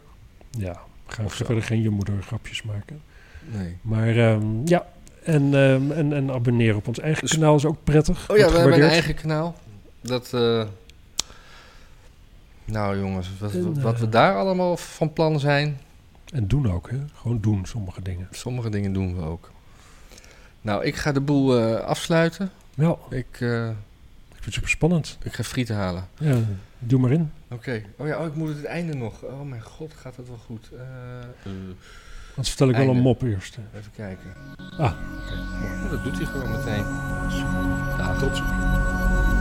Speaker 1: ja ga
Speaker 2: Of zo.
Speaker 1: verder geen je moeder grapjes maken.
Speaker 2: Nee.
Speaker 1: Maar ehm, ja, en, ehm, en, en abonneren op ons eigen
Speaker 2: Dus-
Speaker 1: kanaal is ook prettig.
Speaker 2: Oh ja,
Speaker 1: Wordt
Speaker 2: we hebben een
Speaker 1: gewaardeerd.
Speaker 2: eigen kanaal. Dat. eh, Nou jongens, wat,
Speaker 1: En, eh,
Speaker 2: wat we daar allemaal van plan zijn.
Speaker 1: En doen ook, hè? Gewoon doen sommige dingen.
Speaker 2: Sommige dingen doen we ook. Nou, ik ga de boel eh, afsluiten.
Speaker 1: Wel,
Speaker 2: Ik, eh,
Speaker 1: ik vind het super spannend.
Speaker 2: ik ga frieten halen.
Speaker 1: Ja, doe maar in.
Speaker 2: Oké. Oh ja, oh, ik moet het einde nog. Oh mijn god, gaat dat wel goed. Eh,
Speaker 1: Anders vertel ik wel
Speaker 2: Einde.
Speaker 1: een mop eerst. hè.
Speaker 2: even kijken.
Speaker 1: Ah,
Speaker 2: Ja, dat doet hij gewoon meteen.
Speaker 1: tot ziens.
Speaker 2: Dag.